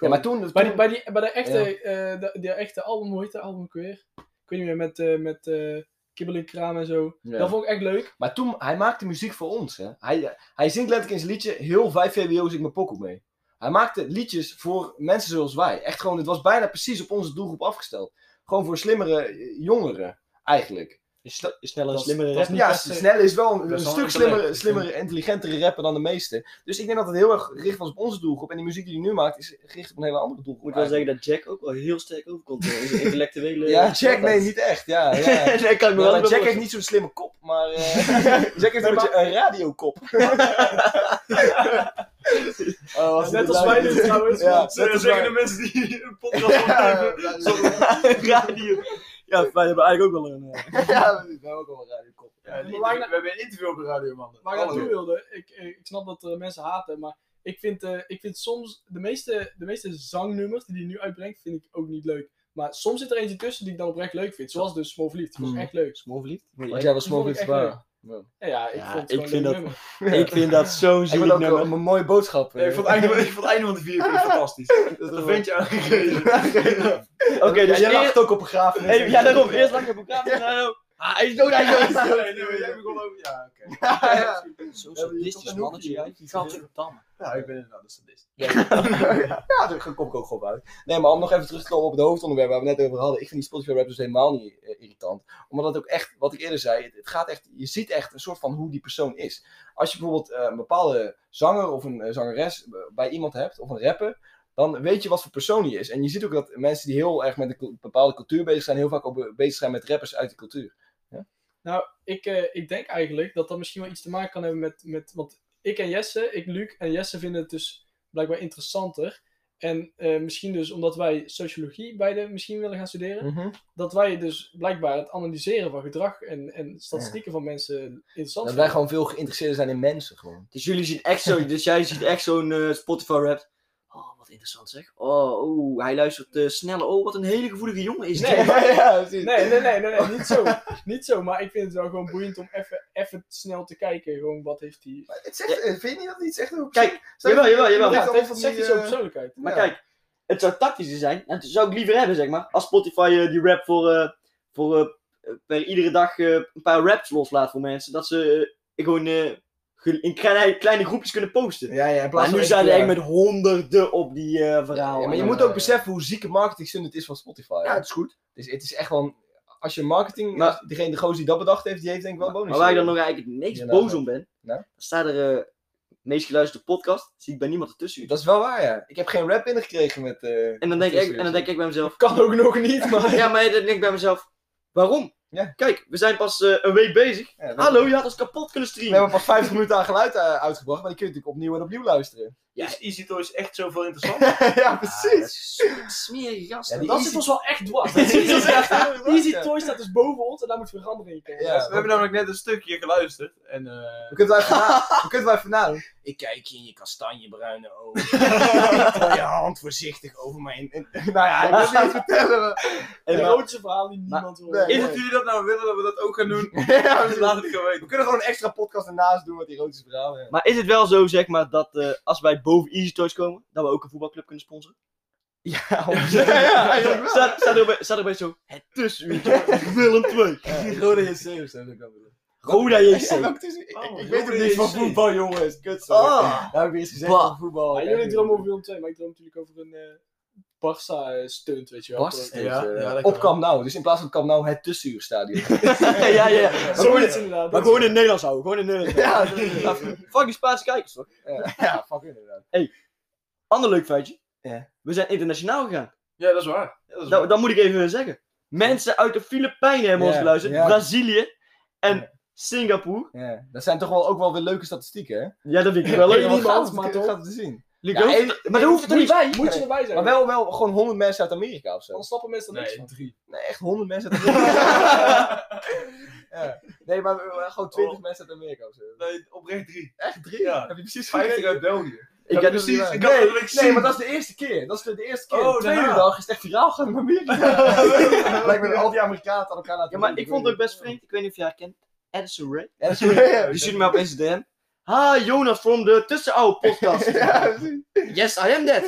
Ja, maar toen...
Bij, die,
toen-
bij, die, bij de echte, eh, de, die echte album, hoe heet dat album ook weer? Ik weet niet meer, met, eh met eh, Kibbel en Kraam en zo.
Ja.
Dat vond ik echt leuk.
Maar toen, hij maakte muziek voor ons. Hè? Hij, eh, hij zingt letterlijk in zijn liedje heel 5 VWO's ik mijn pokoe mee. Hij maakte liedjes voor mensen zoals wij. Echt gewoon, het was bijna precies op onze doelgroep afgesteld. Gewoon voor slimmere eh, jongeren, eigenlijk.
Is, is sneller en
dat-
slimmer
dat is niet
Ja,
per se-
Snelle is wel een,
dat is
een
wel
stuk
een intellect.
slimmere, slimmere, intelligentere rapper dan de meesten. Dus ik denk dat het heel erg gericht was op onze doelgroep. En die muziek die hij nu maakt is gericht op een hele andere
Ik
doelgroep.
moet wel zeggen dat Jack ook wel heel sterk overkomt eh, in zijn intellectuele...
Ja, Jack, nee, niet echt. Ja, ja. Ja,
nee, kan ik me
maar
wel
Jack
voorstellen.
heeft niet zo'n slimme kop, maar eh, Jack heeft een beetje een radiokop. Oh, als
Net
dit
als wij
luidt.
nu trouwens.
Ja,
want-
net
eh,
als wij.
mensen die een
Ja,
Radio. Ja, wij hebben eigenlijk ook wel een... eh,
Ja, we hebben ook al een radiokop.
Ja, die- die- we hebben een interview op de radio, man.
Waar ik
Alle-
naartoe wilde, ik, eh, ik snap dat er mensen haten, maar ik vind, eh, ik vind soms de meeste, de meeste zangnummers die hij nu uitbrengt, vind ik ook niet leuk. Maar soms zit er eentje tussen die ik dan oprecht leuk vind. Zoals dus Smoverliefd. Die vond ik
Mhm.
echt leuk.
Smoorverliefd?
moet
Want
je
jij was
Die vond ik
smoorverliefd
echt
waar.
Ja, ja ik
Ja,
vond het
ik
gewoon
vind
een leuk
dat-
nummer.
echt- Ik vind dat zo'n
Ik
zielig
vond ook
nummer.
een mooie boodschap.
Ja, ik vond het einde, ik vond het einde van de vier vind ik fantastisch. Dat een ventje aangegeven.
Oké, dus
dus jij
eerst...
lacht ook op een graaf.
Hey, ja, daarom. Eerst lag je op elkaar. en daarna- Ah, hij is dood, hij is dood.
Nee, nee, maar jij begon over- Ja, oké.
Ja,
Zo'n
sadistisch mannetje, jij.
Ja, ik ben inderdaad een sadist.
Ja, daar kom ik ook gewoon uit. Nee, maar om nog even terug te komen op het hoofdonderwerp waar we het net over hadden. Ik vind die Spotify rap dus helemaal niet eh, irritant. Omdat het ook echt, wat ik eerder zei, het, het gaat echt, je ziet echt een soort van hoe die persoon is. Als je bijvoorbeeld eh, een bepaalde zanger of een eh, zangeres eh, bij iemand hebt, of een rapper, dan weet je wat voor persoon die is. En je ziet ook dat mensen die heel erg met een cul- bepaalde cultuur bezig zijn, heel vaak ook be- bezig zijn met rappers uit die cultuur.
Nou, ik, eh, ik denk eigenlijk dat dat misschien wel iets te maken kan hebben met, met... Want ik en Jesse, ik, Luc en Jesse vinden het dus blijkbaar interessanter. En eh, misschien dus omdat wij sociologie beide misschien willen gaan studeren.
Mm. Mhm.
dat wij dus blijkbaar het analyseren van gedrag en, en statistieken van mensen interessant
Dat wij
vinden.
gewoon veel geïnteresseerd zijn in mensen gewoon.
Dus jullie zien echt zo, dus jij ziet echt zo'n eh, Spotify rap. Oh, wat interessant zeg. Oh, oeh, hij luistert eh, sneller. Oh, wat een hele gevoelige jongen is dit.
Nee,
ja, precies.
Nee, nee, nee, nee, nee, niet zo. Niet zo, maar ik vind het wel gewoon boeiend om even- even snel te kijken. Gewoon wat heeft hij.
Maar het zegt, eh, vind je niet dat het iets echt over
Kijk, jawel, jawel, jawel.
Ja,
Ja,
het heeft- het zegt iets
eh,
over
zo.
persoonlijkheid.
Maar
Ja.
kijk, het zou tactischer zijn. En dat zou ik liever hebben, zeg maar. Als Spotify eh, die rap voor, eh, voor eh, per iedere dag eh, een paar raps loslaat voor mensen. Dat ze eh, gewoon eh, ge- in kleine, kleine groepjes kunnen posten.
Ja, ja, in plaats
maar
van
nu
echt,
zijn er
ja.
echt met honderden op die eh verhalen.
Ja, maar je moet ook beseffen hoe zieke marketingstunt het is van Spotify.
Ja,
hè.
het is goed.
Dus het is echt gewoon. Als je marketing.
Maar-
als degene de gozer die dat bedacht heeft, die heeft denk ik wel een bonus.
Maar waar ik dan nog eigenlijk het meest
Ja,
boos
nou,
om ben,
nou?
dan staat er eh, meest geluisterde podcast, zie ik bij niemand ertussen.
Dat is wel waar, ja. Ik heb geen rap binnengekregen met. eh,
En dan denk,
met
ik, en dan denk ik bij mezelf,
Kan ook nog niet, maar.
ja, maar dan denk ik bij mezelf, waarom?
Ja.
Kijk, we zijn pas eh, een week bezig.
Ja, we-
Hallo, je had ons kapot kunnen
We
streamen.
hebben pas 50 minuten aan geluid eh, uitgebracht, maar die kun je natuurlijk opnieuw en opnieuw luisteren.
Ja.
Is Easy Toys echt zoveel interessanter?
ja,
Ah, dat
precies.
is een smerige gast.
Ja,
Ja,
die
Dat
Easy-
zit ons wel echt dwars.
Dat zit ons echt
Easy,
heel dwars,
Easy
ja.
Toy staat dus boven ons en daar moeten we verandering in.
Ja.
Ja.
we hebben namelijk net een stukje geluisterd. En, eh,
We kunnen het even na- we kunnen het even nadoen.
Ik kijk je in je kastanjebruine ogen. Gooi je hand voorzichtig over mijn...
nou ja, ik wil niet vertellen. maar-
Een
maar-
erotische verhaal die niemand wil.
nee.
Is het jullie dat nou willen dat we dat ook gaan doen?
Ja, precies.
Laat het gewoon
we
weten.
kunnen gewoon een extra podcast ernaast doen met erotische verhalen. Ja.
Maar is het wel zo, zeg maar, dat eh, als wij boven Easy Toys komen, dat we ook een voetbalclub kunnen sponsoren?
Ja, ja, eigenlijk wel.
Staat, staat, er bij, staat er bij zo, het tussenuurtje, Willem 2.
Rode JC of zo, dat kan wel.
Roda
Ja,
JC.
welk tussen- ik, ik,
Oh,
ik weet
Rode
het niet van
JC.
voetbal, jongens. Kut, sorry.
Ah.
Nou heb ik weer eens gezegd
Bah.
van voetbal.
Maar
Kijk,
jullie
ik-
dromen over Willem 2, maar ik droom natuurlijk over een eh Barça-stunt, weet je wel.
Barca
Gewoon-
steeds,
Ja,
eh,
ja, dat
op
kan.
Camp Nou. Dus in plaats van Camp Nou het tussenuurstadion.
ja, ja, ja. Maar gewoon,
Zoiets inderdaad.
maar
Dat is-
gewoon in het Nederlands houden, gewoon in het Nederlands
ja,
houden. Fuck die Spaanse kijkers, toch?
ja, ja, fuck inderdaad.
Ander leuk feitje.
Ja.
We zijn internationaal gegaan.
Ja, dat is waar. Ja, dat
Nou,
is waar.
Dat, dat moet ik even zeggen. Mensen uit de Filipijnen hebben
Ja,
ons geluisterd,
ja.
Brazilië en
Ja.
Singapore.
Ja. Dat zijn toch wel ook wel weer leuke statistieken, hè?
Ja, dat vind ik wel
Ik
leuk.
heb
niemand,
wel gaaf om
maar
te-
toch?
gaaf te zien.
Luc,
Ja,
dat hoeft-
en-
maar dat hoeft er
moet
niet
je-
bij.
Moet je erbij zijn.
Maar wel, wel gewoon 100 mensen uit Amerika of zo.
Dan snappen mensen er niks
Nee,
van.
drie.
Nee, echt 100 mensen uit Amerika. ja. Nee, maar we- we- gewoon 20 mensen uit Amerika of zo.
Nee, oprecht drie.
Echt drie?
Oh. Ja.
Heb je precies
50
gekeken?
uit België.
Ik
Ja,
heb
Nee,
precies. Ik had het niet
nee,
zien.
maar dat is de eerste keer. Dat is de, de eerste keer.
Oh,
de tweede
daarna.
dag is het echt viraal gaan in Amerika. Lijkt me al die Amerikanen aan elkaar laten
Ja, maar
doen.
ik vond het ook best vreemd. Ik weet niet of jij haar kent. Addison Ray.
Ja, dat is ja,
Die stuurde mij op Instagram. Ha, Jonas from de Tussenoude podcast.
precies.
Yes, I am that.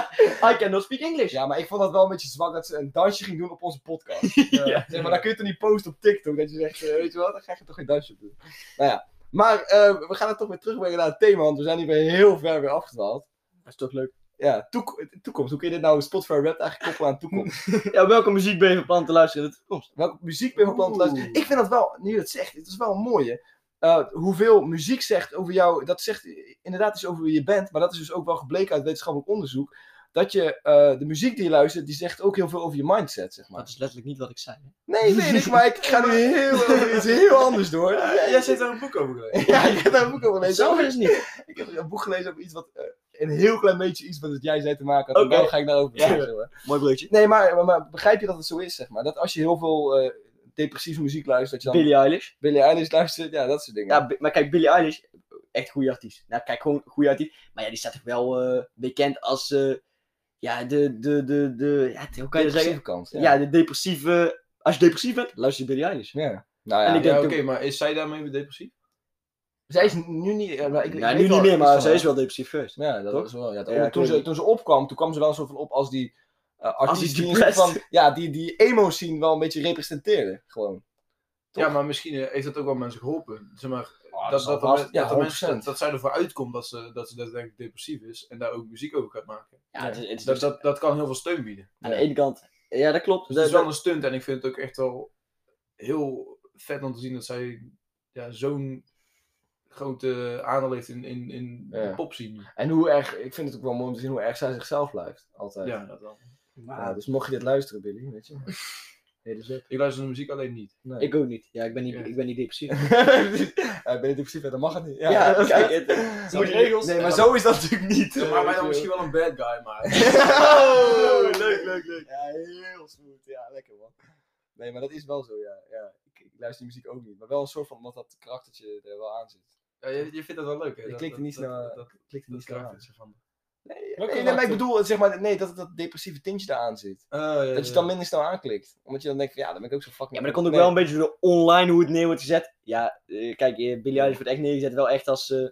I cannot speak English.
Ja, maar ik vond dat wel een beetje zwak dat ze een dansje ging doen op onze podcast. Ja. Zeg maar, dan kun je toch niet posten op TikTok dat je zegt, eh, weet je wat, dan ga je toch geen dansje op doen. Nou ja, maar eh, we gaan het toch weer terugbrengen naar het thema, want we zijn hier weer heel ver weer afgedwaald.
Dat is toch leuk.
Ja, toek- toekomst. Hoe kun je dit nou Spotify Rap eigenlijk koppelen aan toekomst?
Ja, welke muziek ben je van plan te luisteren in de toekomst?
Welke muziek ben je van plan te luisteren?
Oeh.
Ik vind dat wel, nu je dat zegt, het is wel een mooie. Eh, hoeveel muziek zegt over jou, dat zegt inderdaad iets over wie je bent, maar dat is dus ook wel gebleken uit wetenschappelijk onderzoek. Dat je eh, de muziek die je luistert, die zegt ook heel veel over je mindset, zeg maar.
Dat is letterlijk niet wat ik zei. hè.
Nee, weet ik, maar ik ga nu heel, over iets heel anders door.
Jij zit daar een boek over gelezen.
Ja, ik heb daar een boek over gelezen.
Zo is het niet.
Ik heb een boek gelezen over iets wat eh, een heel klein beetje iets met wat jij zei te maken had.
Oké.
En dan ga ik daarover
Ja.
vertellen. hoor.
Mooi broodje.
Nee, maar, maar, maar begrijp je dat het zo is, zeg maar? Dat als je heel veel eh, depressieve muziek luistert, dat je dan
Billie Eilish.
Billie Eilish luistert, ja, dat soort dingen.
Ja, Bi- maar kijk, Billie Eilish, echt goede artiest. Nou, kijk, gewoon goede artiest. Maar ja, die staat toch wel eh, bekend als, eh, ja, de, de, de, de, ja, hoe kan je dat
Depressieve
zeggen?
kant.
Ja.
Ja.
de depressieve, als je depressief bent, luister je Billie Eilish.
Ja. Nou ja,
En ik
Ja,
denk-
oké, maar is zij daarmee weer depressief?
zij is nu niet... eh, maar ik, ik weet
ja, Nou, nu
wel-
niet meer,
is
maar
wel-
ze is wel depressief geweest.
Ja, dat
Toch?
was wel. Ja,
Ja, ik
toen,
weet
ze,
niet.
toen ze opkwam, toen kwam ze wel een soort van op als die eh artiest die, een soort
depressed.
van, ja, die, die emo scene wel een beetje representeerde. Gewoon. Toch?
Ja, maar misschien eh, heeft dat ook wel mensen geholpen. Zeg maar, dat,
dat
Oh, dat,
zal
er
vast.
men-
Ja,
dat, er mensen,
100%.
dat, dat zij ervoor uitkomt dat ze, dat ze daadwerkelijk depressief is en daar ook muziek over gaat maken.
Ja, het is, het is
Dat,
dus-
dat, dat kan heel veel steun bieden.
aan de ene kant, ja, dat klopt.
Dus
Dat-
het is wel een stunt en ik vind het ook echt wel heel vet om te zien dat zij ja, zo'n grote aandeel heeft in, in, in
Ja.
de popscene.
En hoe erg, ik vind het ook wel mooi om te zien hoe erg zij zichzelf blijft. Altijd.
Ja, dat wel.
Ja, dus mocht je dit luisteren, Billy, weet je. Hele zet.
Ik luister de muziek alleen niet.
Nee.
Ik ook niet. Ja, ik ben niet,
Ja.
ik ben niet depressief.
Ja, ben je depressief? Ja, Dan mag het niet. Ja,
Ja, kijk, het-
Het zijn regels.
Nee, maar zo is dat natuurlijk niet.
Ja, maar wij dan misschien wel een bad guy, maar...
Oh, leuk, leuk, leuk. Ja, heel smooth. Ja, lekker man. Nee, maar dat is wel zo, ja. ja ik, ik luister die muziek ook niet. Maar wel een soort van, omdat dat karaktertje er wel aan zit.
Ja, je, je vindt dat wel leuk, hè?
Je
Dat-
klikt er niet
dat-
snel-
dat- dat-
Klikt er
dat
niet zo aan.
karaktertje van.
Nee,
Welke
nee, nee, maar ik
karakter?
bedoel, eh, zeg maar, nee, dat dat depressieve tintje eraan zit.
Oh,
Dat je het
Eh.
dan minder snel aanklikt. Omdat je dan denkt, van, ja, dan ben ik ook zo fucking...
Ja, maar dat komt ook
Nee.
wel een beetje door de online hoe het neer wordt gezet. Ja, eh, kijk, eh, Billie Eilish wordt echt neergezet wel echt als... eh,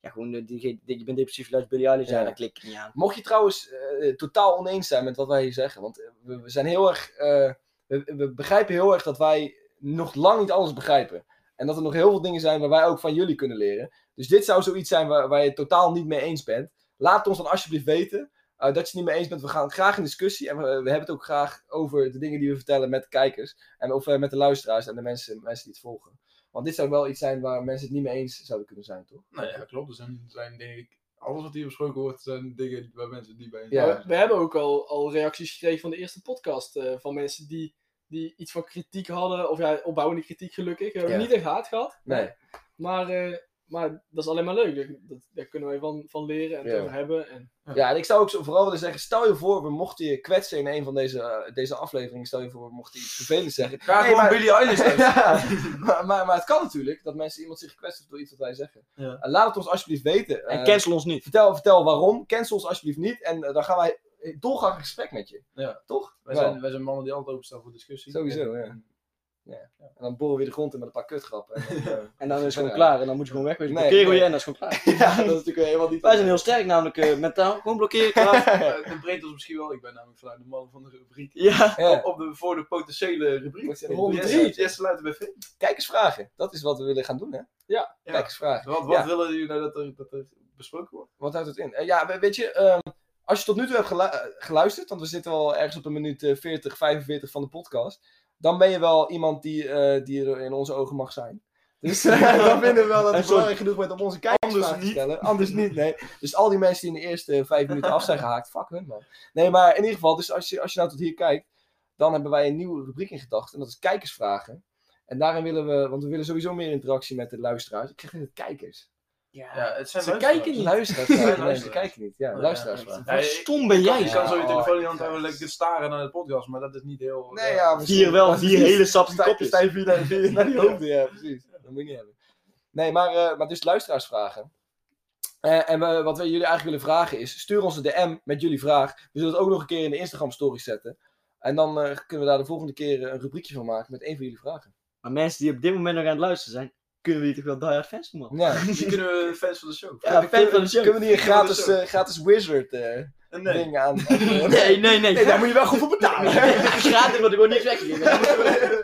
ja, gewoon, eh, diegene die, je bent depressief, luister Billie Eilish. Ja,
Ja.
daar klik ik niet aan.
Mocht je trouwens eh, totaal oneens zijn met wat wij hier zeggen, want eh, we, we zijn heel erg. eh, we, we begrijpen heel erg dat wij nog lang niet alles begrijpen. En dat er nog heel veel dingen zijn waar wij ook van jullie kunnen leren. Dus dit zou zoiets zijn waar, waar je het totaal niet mee eens bent. Laat het ons dan alsjeblieft weten eh, dat je het niet mee eens bent. We gaan graag in discussie en we, we hebben het ook graag over de dingen die we vertellen met de kijkers. En of eh, met de luisteraars en de mensen, mensen die het volgen. Want dit zou wel iets zijn waar mensen het niet mee eens zouden kunnen zijn, toch?
Nou ja, klopt. Er zijn, zijn denk ik... Alles wat hier besproken wordt, zijn dingen waar mensen die bij...
Ja.
Maar we, we hebben ook al, al reacties gekregen van de eerste podcast. eh, van mensen die, die iets van kritiek hadden. Of ja, opbouwende kritiek gelukkig. We hebben
Ja.
niet echt haat gehad.
Nee.
Maar eh, Maar dat is alleen maar leuk. Dat, dat- daar kunnen wij van, van leren en het
Ja.
over hebben. En,
Ja, en ik zou ook zo vooral willen zeggen, stel je voor, we mochten je kwetsen in een van deze, eh, deze afleveringen. Stel je voor, we mochten iets vervelends zeggen.
Ga
Nee,
gewoon
maar-
Billy Eilish uit.
ja, maar, maar, maar het kan natuurlijk dat mensen iemand zich gekwetst heeft door iets wat wij zeggen.
Ja.
En laat het ons alsjeblieft weten.
En
Eh,
cancel ons niet.
vertel, vertel waarom. Cancel ons alsjeblieft niet. En eh, dan gaan wij dolgraag in gesprek met je.
Ja.
Toch?
Wij
Ja,
zijn, wij zijn mannen die altijd openstaan voor discussie.
Sowieso, ja. ja. En dan boren we weer de grond in met een paar kutgrappen. En, eh,
En dan is het gewoon
Ja.
klaar. En dan moet je gewoon wegwezen.
Nee,
Blokkeren we
nee.
je en dan is het gewoon
ja,
klaar.
dat is natuurlijk helemaal niet...
Wij zijn heel sterk namelijk eh, mentaal. Gewoon blokkeren, klaar.
Eh, Dat breekt ons misschien wel. Ik ben namelijk vanuit de man van de rubriek.
Ja.
Ja.
Op de, voor de potentiële rubriek.
Potentiële
Ronde
rubriek.
drie. Jesse Luiten bij Vin.
Kijkersvragen. Dat is wat we willen gaan doen, hè?
Ja.
Kijkersvragen.
Wat, wat
Ja.
willen jullie nou dat er, dat er besproken wordt?
Wat houdt het in? Eh, ja, we- weet je, ehm, als je tot nu toe hebt gelu- eh, geluisterd, want we zitten al ergens op een minuut eh, 40, 45 van de podcast, dan ben je wel iemand die, eh, die er in onze ogen mag zijn. Dus eh, dan vinden we wel dat
En
het
zo-
belangrijk genoeg bent om onze kijkers te stellen. Anders niet, nee. Dus al die mensen die in de eerste eh, vijf minuten af zijn gehaakt, fuck hun man. Nee, maar in ieder geval, dus als je, als je nou tot hier kijkt, dan hebben wij een nieuwe rubriek in gedachten. En dat is kijkersvragen. En daarin willen we, want we willen sowieso meer interactie met de luisteraars. Ik zeg net kijkers.
Ja, het zijn
Ze
luisteraars.
kijken niet.
Luisteraars.
Ja,
vragen. Nee, ze
luisteraars.
kijken niet. Ja,
ja,
luisteraars.
ja.
vragen.
Ja,
Hoe
ik-
stom ben jij?
Je kan zo je
Oh,
telefoon in je hand
ja.
houden en lekker staren naar de podcast, maar dat is niet heel...
Nee, ja, misschien-
Vier wel, vier
Precies.
hele sappige
Sta-
kopjes.
Sta je vier naar, vier naar die hoofden, ja, precies. Dat moet je niet hebben. Nee, maar, eh, maar dus luisteraarsvragen. Eh, en we- wat wij jullie eigenlijk willen vragen is, stuur ons een DM met jullie vraag. We zullen het ook nog een keer in de Instagram story zetten. En dan eh, kunnen we daar de volgende keer eh, een rubriekje van maken met één van jullie vragen.
Maar mensen die op dit moment nog aan het luisteren zijn, kunnen we hier toch wel die hard fans man?
Ja,
Die kunnen we fans van de show.
Ja, fan van de show.
Kunnen we niet een
Kunnen we
gratis,
zo.
eh, gratis wizard eh
Nee.
ding aan?
Nee, nee, nee.
Nee, daar moet je wel goed voor betalen.
Gratis wordt er gewoon niks weggegeven.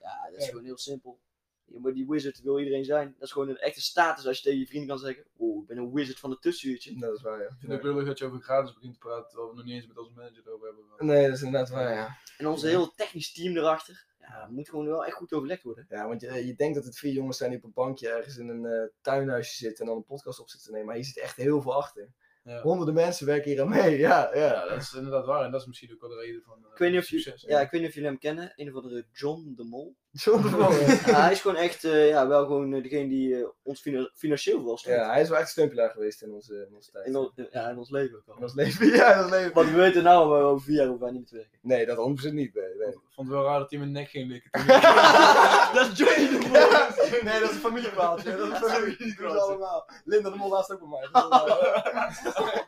Ja, dat is gewoon heel simpel. Je moet die wizard wil iedereen zijn. Dat is gewoon een echte status als je tegen je vrienden kan zeggen: Oh, ik ben een wizard van het tussenuurtje.
dat is waar, ja.
Ik vind het ook lullig dat je over gratis begint te praten, terwijl we nog niet eens met onze manager over hebben.
Nee, dat is inderdaad waar, ja.
En ons hele technisch team erachter. Ja, moet gewoon wel echt goed overlegd worden.
Ja, want eh, je, je denkt dat het vier jongens zijn die op een bankje ergens in een eh, tuinhuisje zitten en dan een podcast op zitten te nemen. Maar hier zit echt heel veel achter.
Ja.
Honderden mensen werken hier aan mee, ja. ja.
Ja, dat is inderdaad waar en dat is misschien ook wel de reden van eh,
Ik weet niet of, je,
succes.
ja, ik weet niet of jullie hem kennen. Een of andere John de Mol.
Zonder vermogen.
Ja, hij is gewoon echt, eh, ja, wel gewoon eh, degene die eh, ons fina- financieel wel steunt.
ja, hij is wel echt steunpilaar geweest in onze, in onze tijd.
In, ons- ja, in ons leven ook
In
al.
ons leven, ja, in ons leven.
Want we weten nou, eh, over vier jaar hoeven wij niet meer te werken.
Nee, dat 100% niet, nee. nee.
Ik vond het wel raar dat hij mijn nek ging likken.
Ah,
dat is Johnny de Mol.
Ja, nee, dat is een familieverhaaltje. Dat is een familieverhaaltje. allemaal. Linda de Mol laatst ook bij mij. Dat is allemaal-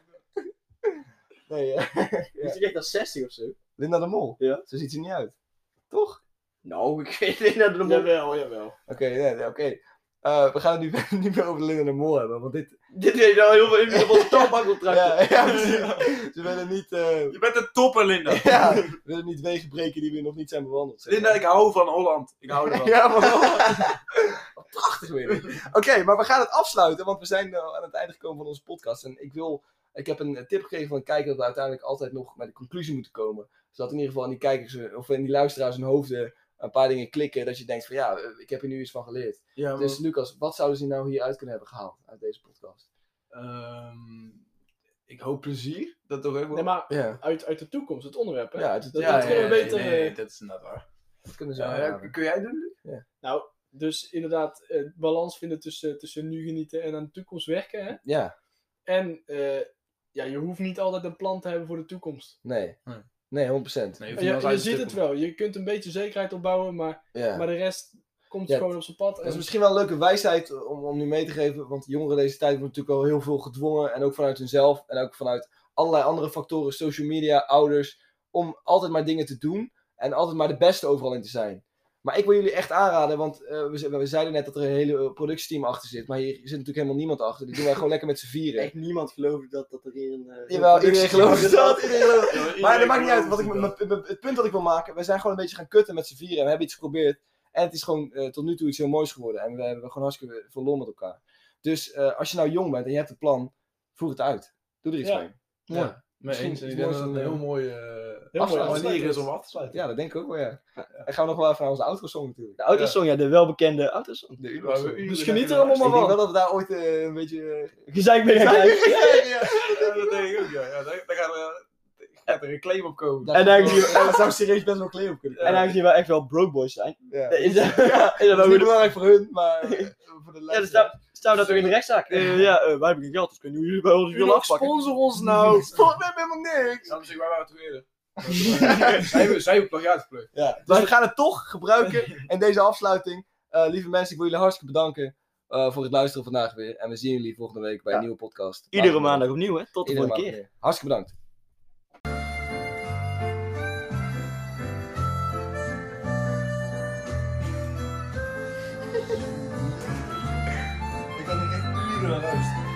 Nee, eh,
Is hij echt al 60 of zo?
Linda de Mol.
Ja.
Zo ziet ze niet uit. Toch?
Nou, ik weet niet dat de Mol...
Jawel, jawel.
Oké, nee, nee, oké. Eh, we gaan het nu niet meer over Linda de Mol hebben, want dit...
Dit heeft nou heel veel invloed op ons taalbankcontract.
Ja, ja, precies. Ze willen niet, eh,
Je bent een topper, Linda.
ja, we willen niet wegen breken die we nog niet zijn bewandeld. zeg
Linda,
maar.
ik hou van Holland. Ik hou ervan.
Ja, maar Wat prachtig weer. Oké, maar we gaan het afsluiten, want we zijn eh, aan het einde gekomen van onze podcast. En ik wil, ik heb een eh, tip gekregen van een kijker dat we uiteindelijk altijd nog met de conclusie moeten komen. Zodat in ieder geval in die kijkers, eh, of in die luisteraars hun hoofden een paar dingen klikken, dat je denkt van ja, eh, ik heb hier nu iets van geleerd.
Ja, maar-
Dus Lucas, wat zouden ze nou hieruit kunnen hebben gehaald uit deze podcast?
Ehm, ik hoop plezier. Dat toch even.
Nee, maar
Ja,
uit, uit de toekomst, het onderwerp. Hè?
ja, uit het,
Dat-
ja,
dat kunnen we
nee,
beter,
nee,
eh,
dat is inderdaad waar.
dat kunnen ze
Ja,
aanraden.
kun jij doen? Luc?
Nou, dus inderdaad, eh, balans vinden tussen, tussen nu genieten en aan de toekomst werken. Hè?
Ja,
En eh, ja, je hoeft niet altijd een plan te hebben voor de toekomst.
nee.
Nee.
Nee, 100%.
Nee,
Je, je ziet het wel. Je kunt een beetje zekerheid opbouwen, maar,
Ja.
maar de rest komt
Ja,
gewoon op zijn pad.
Dat is
En,
misschien wel een leuke wijsheid om, om nu mee te geven. Want jongeren deze tijd worden natuurlijk wel heel veel gedwongen. En ook vanuit hunzelf. En ook vanuit allerlei andere factoren. Social media, ouders. Om altijd maar dingen te doen. En altijd maar de beste overal in te zijn. Maar ik wil jullie echt aanraden. Want eh, we, ze- we zeiden net dat er een hele eh, productieteam achter zit. Maar hier zit natuurlijk helemaal niemand achter. Dit doen wij gewoon lekker met z'n vieren.
Echt niemand geloofde dat, dat er hier een... eh,
Jawel, iedereen
productie-
gelooft dat. Iedereen gelooft
Iedereen
maar dat maakt niet uit.
gelooft
Wat ik,
het
mijn-
wel.
mijn- het punt dat ik wil maken, we zijn gewoon een beetje gaan kutten met z'n vieren. En we hebben iets geprobeerd. En het is gewoon eh, tot nu toe iets heel moois geworden. En we hebben gewoon hartstikke veel lol met elkaar. Dus eh, als je nou jong bent en je hebt een plan, voer het uit. Doe er iets
Ja.
mee.
Ja.
Ja.
Mee
Misschien
eens.
is het
Ik denk
mooi
dat het
zo'n,
een heel
eh,
mooie, eh,
Heel mooi
mooie manier
afsluiting.
is om af te sluiten.
ja, dat denk ik ook wel, ja. En gaan we nog wel even naar onze autosong natuurlijk.
De autosong, ja, de welbekende autosong.
De
Waar we
Ik
uren
Dus geniet
lekker
er allemaal maar
denk wel
van.
dat we daar ooit eh, een beetje... eh,
Gezeik ben ik
Ja,
eigenlijk.
luisteren. Ja, dat denk ik ook, ja. Ja, daar- daar gaan we- Gaat er een claim op komen.
En dan-
Daar zou serieus best wel claim op kunnen
En
komen.
aangezien wij echt wel broke boys zijn. Eh,
Ja.
Is dat, ja,
Dat
is dat wel
is niet
goed?
belangrijk voor hun, maar eh, voor de
Ja, dus
luisteraar.
daar staan we dat toch in de rechtszaak. Eh, ja, eh, wij hebben geen geld, dus kunnen jullie bij ons willen afpakken.
sponsor ons nou.
Sport, we hebben helemaal niks.
Dan zeg ik, wij waren toch eerder. Zij hebben- zij hebben plagiaat geplukt.
Ja, dus we gaan het toch gebruiken in deze afsluiting. Eh, lieve mensen, ik wil jullie hartstikke bedanken eh, voor het luisteren vandaag weer. En we zien jullie volgende week bij
Ja.
een nieuwe podcast.
Iedere
Later dan.
maandag opnieuw, hè? Tot de
Iedere
volgende keer.
maandag weer. Hartstikke bedankt.
Ik kan er echt uren aan luisteren.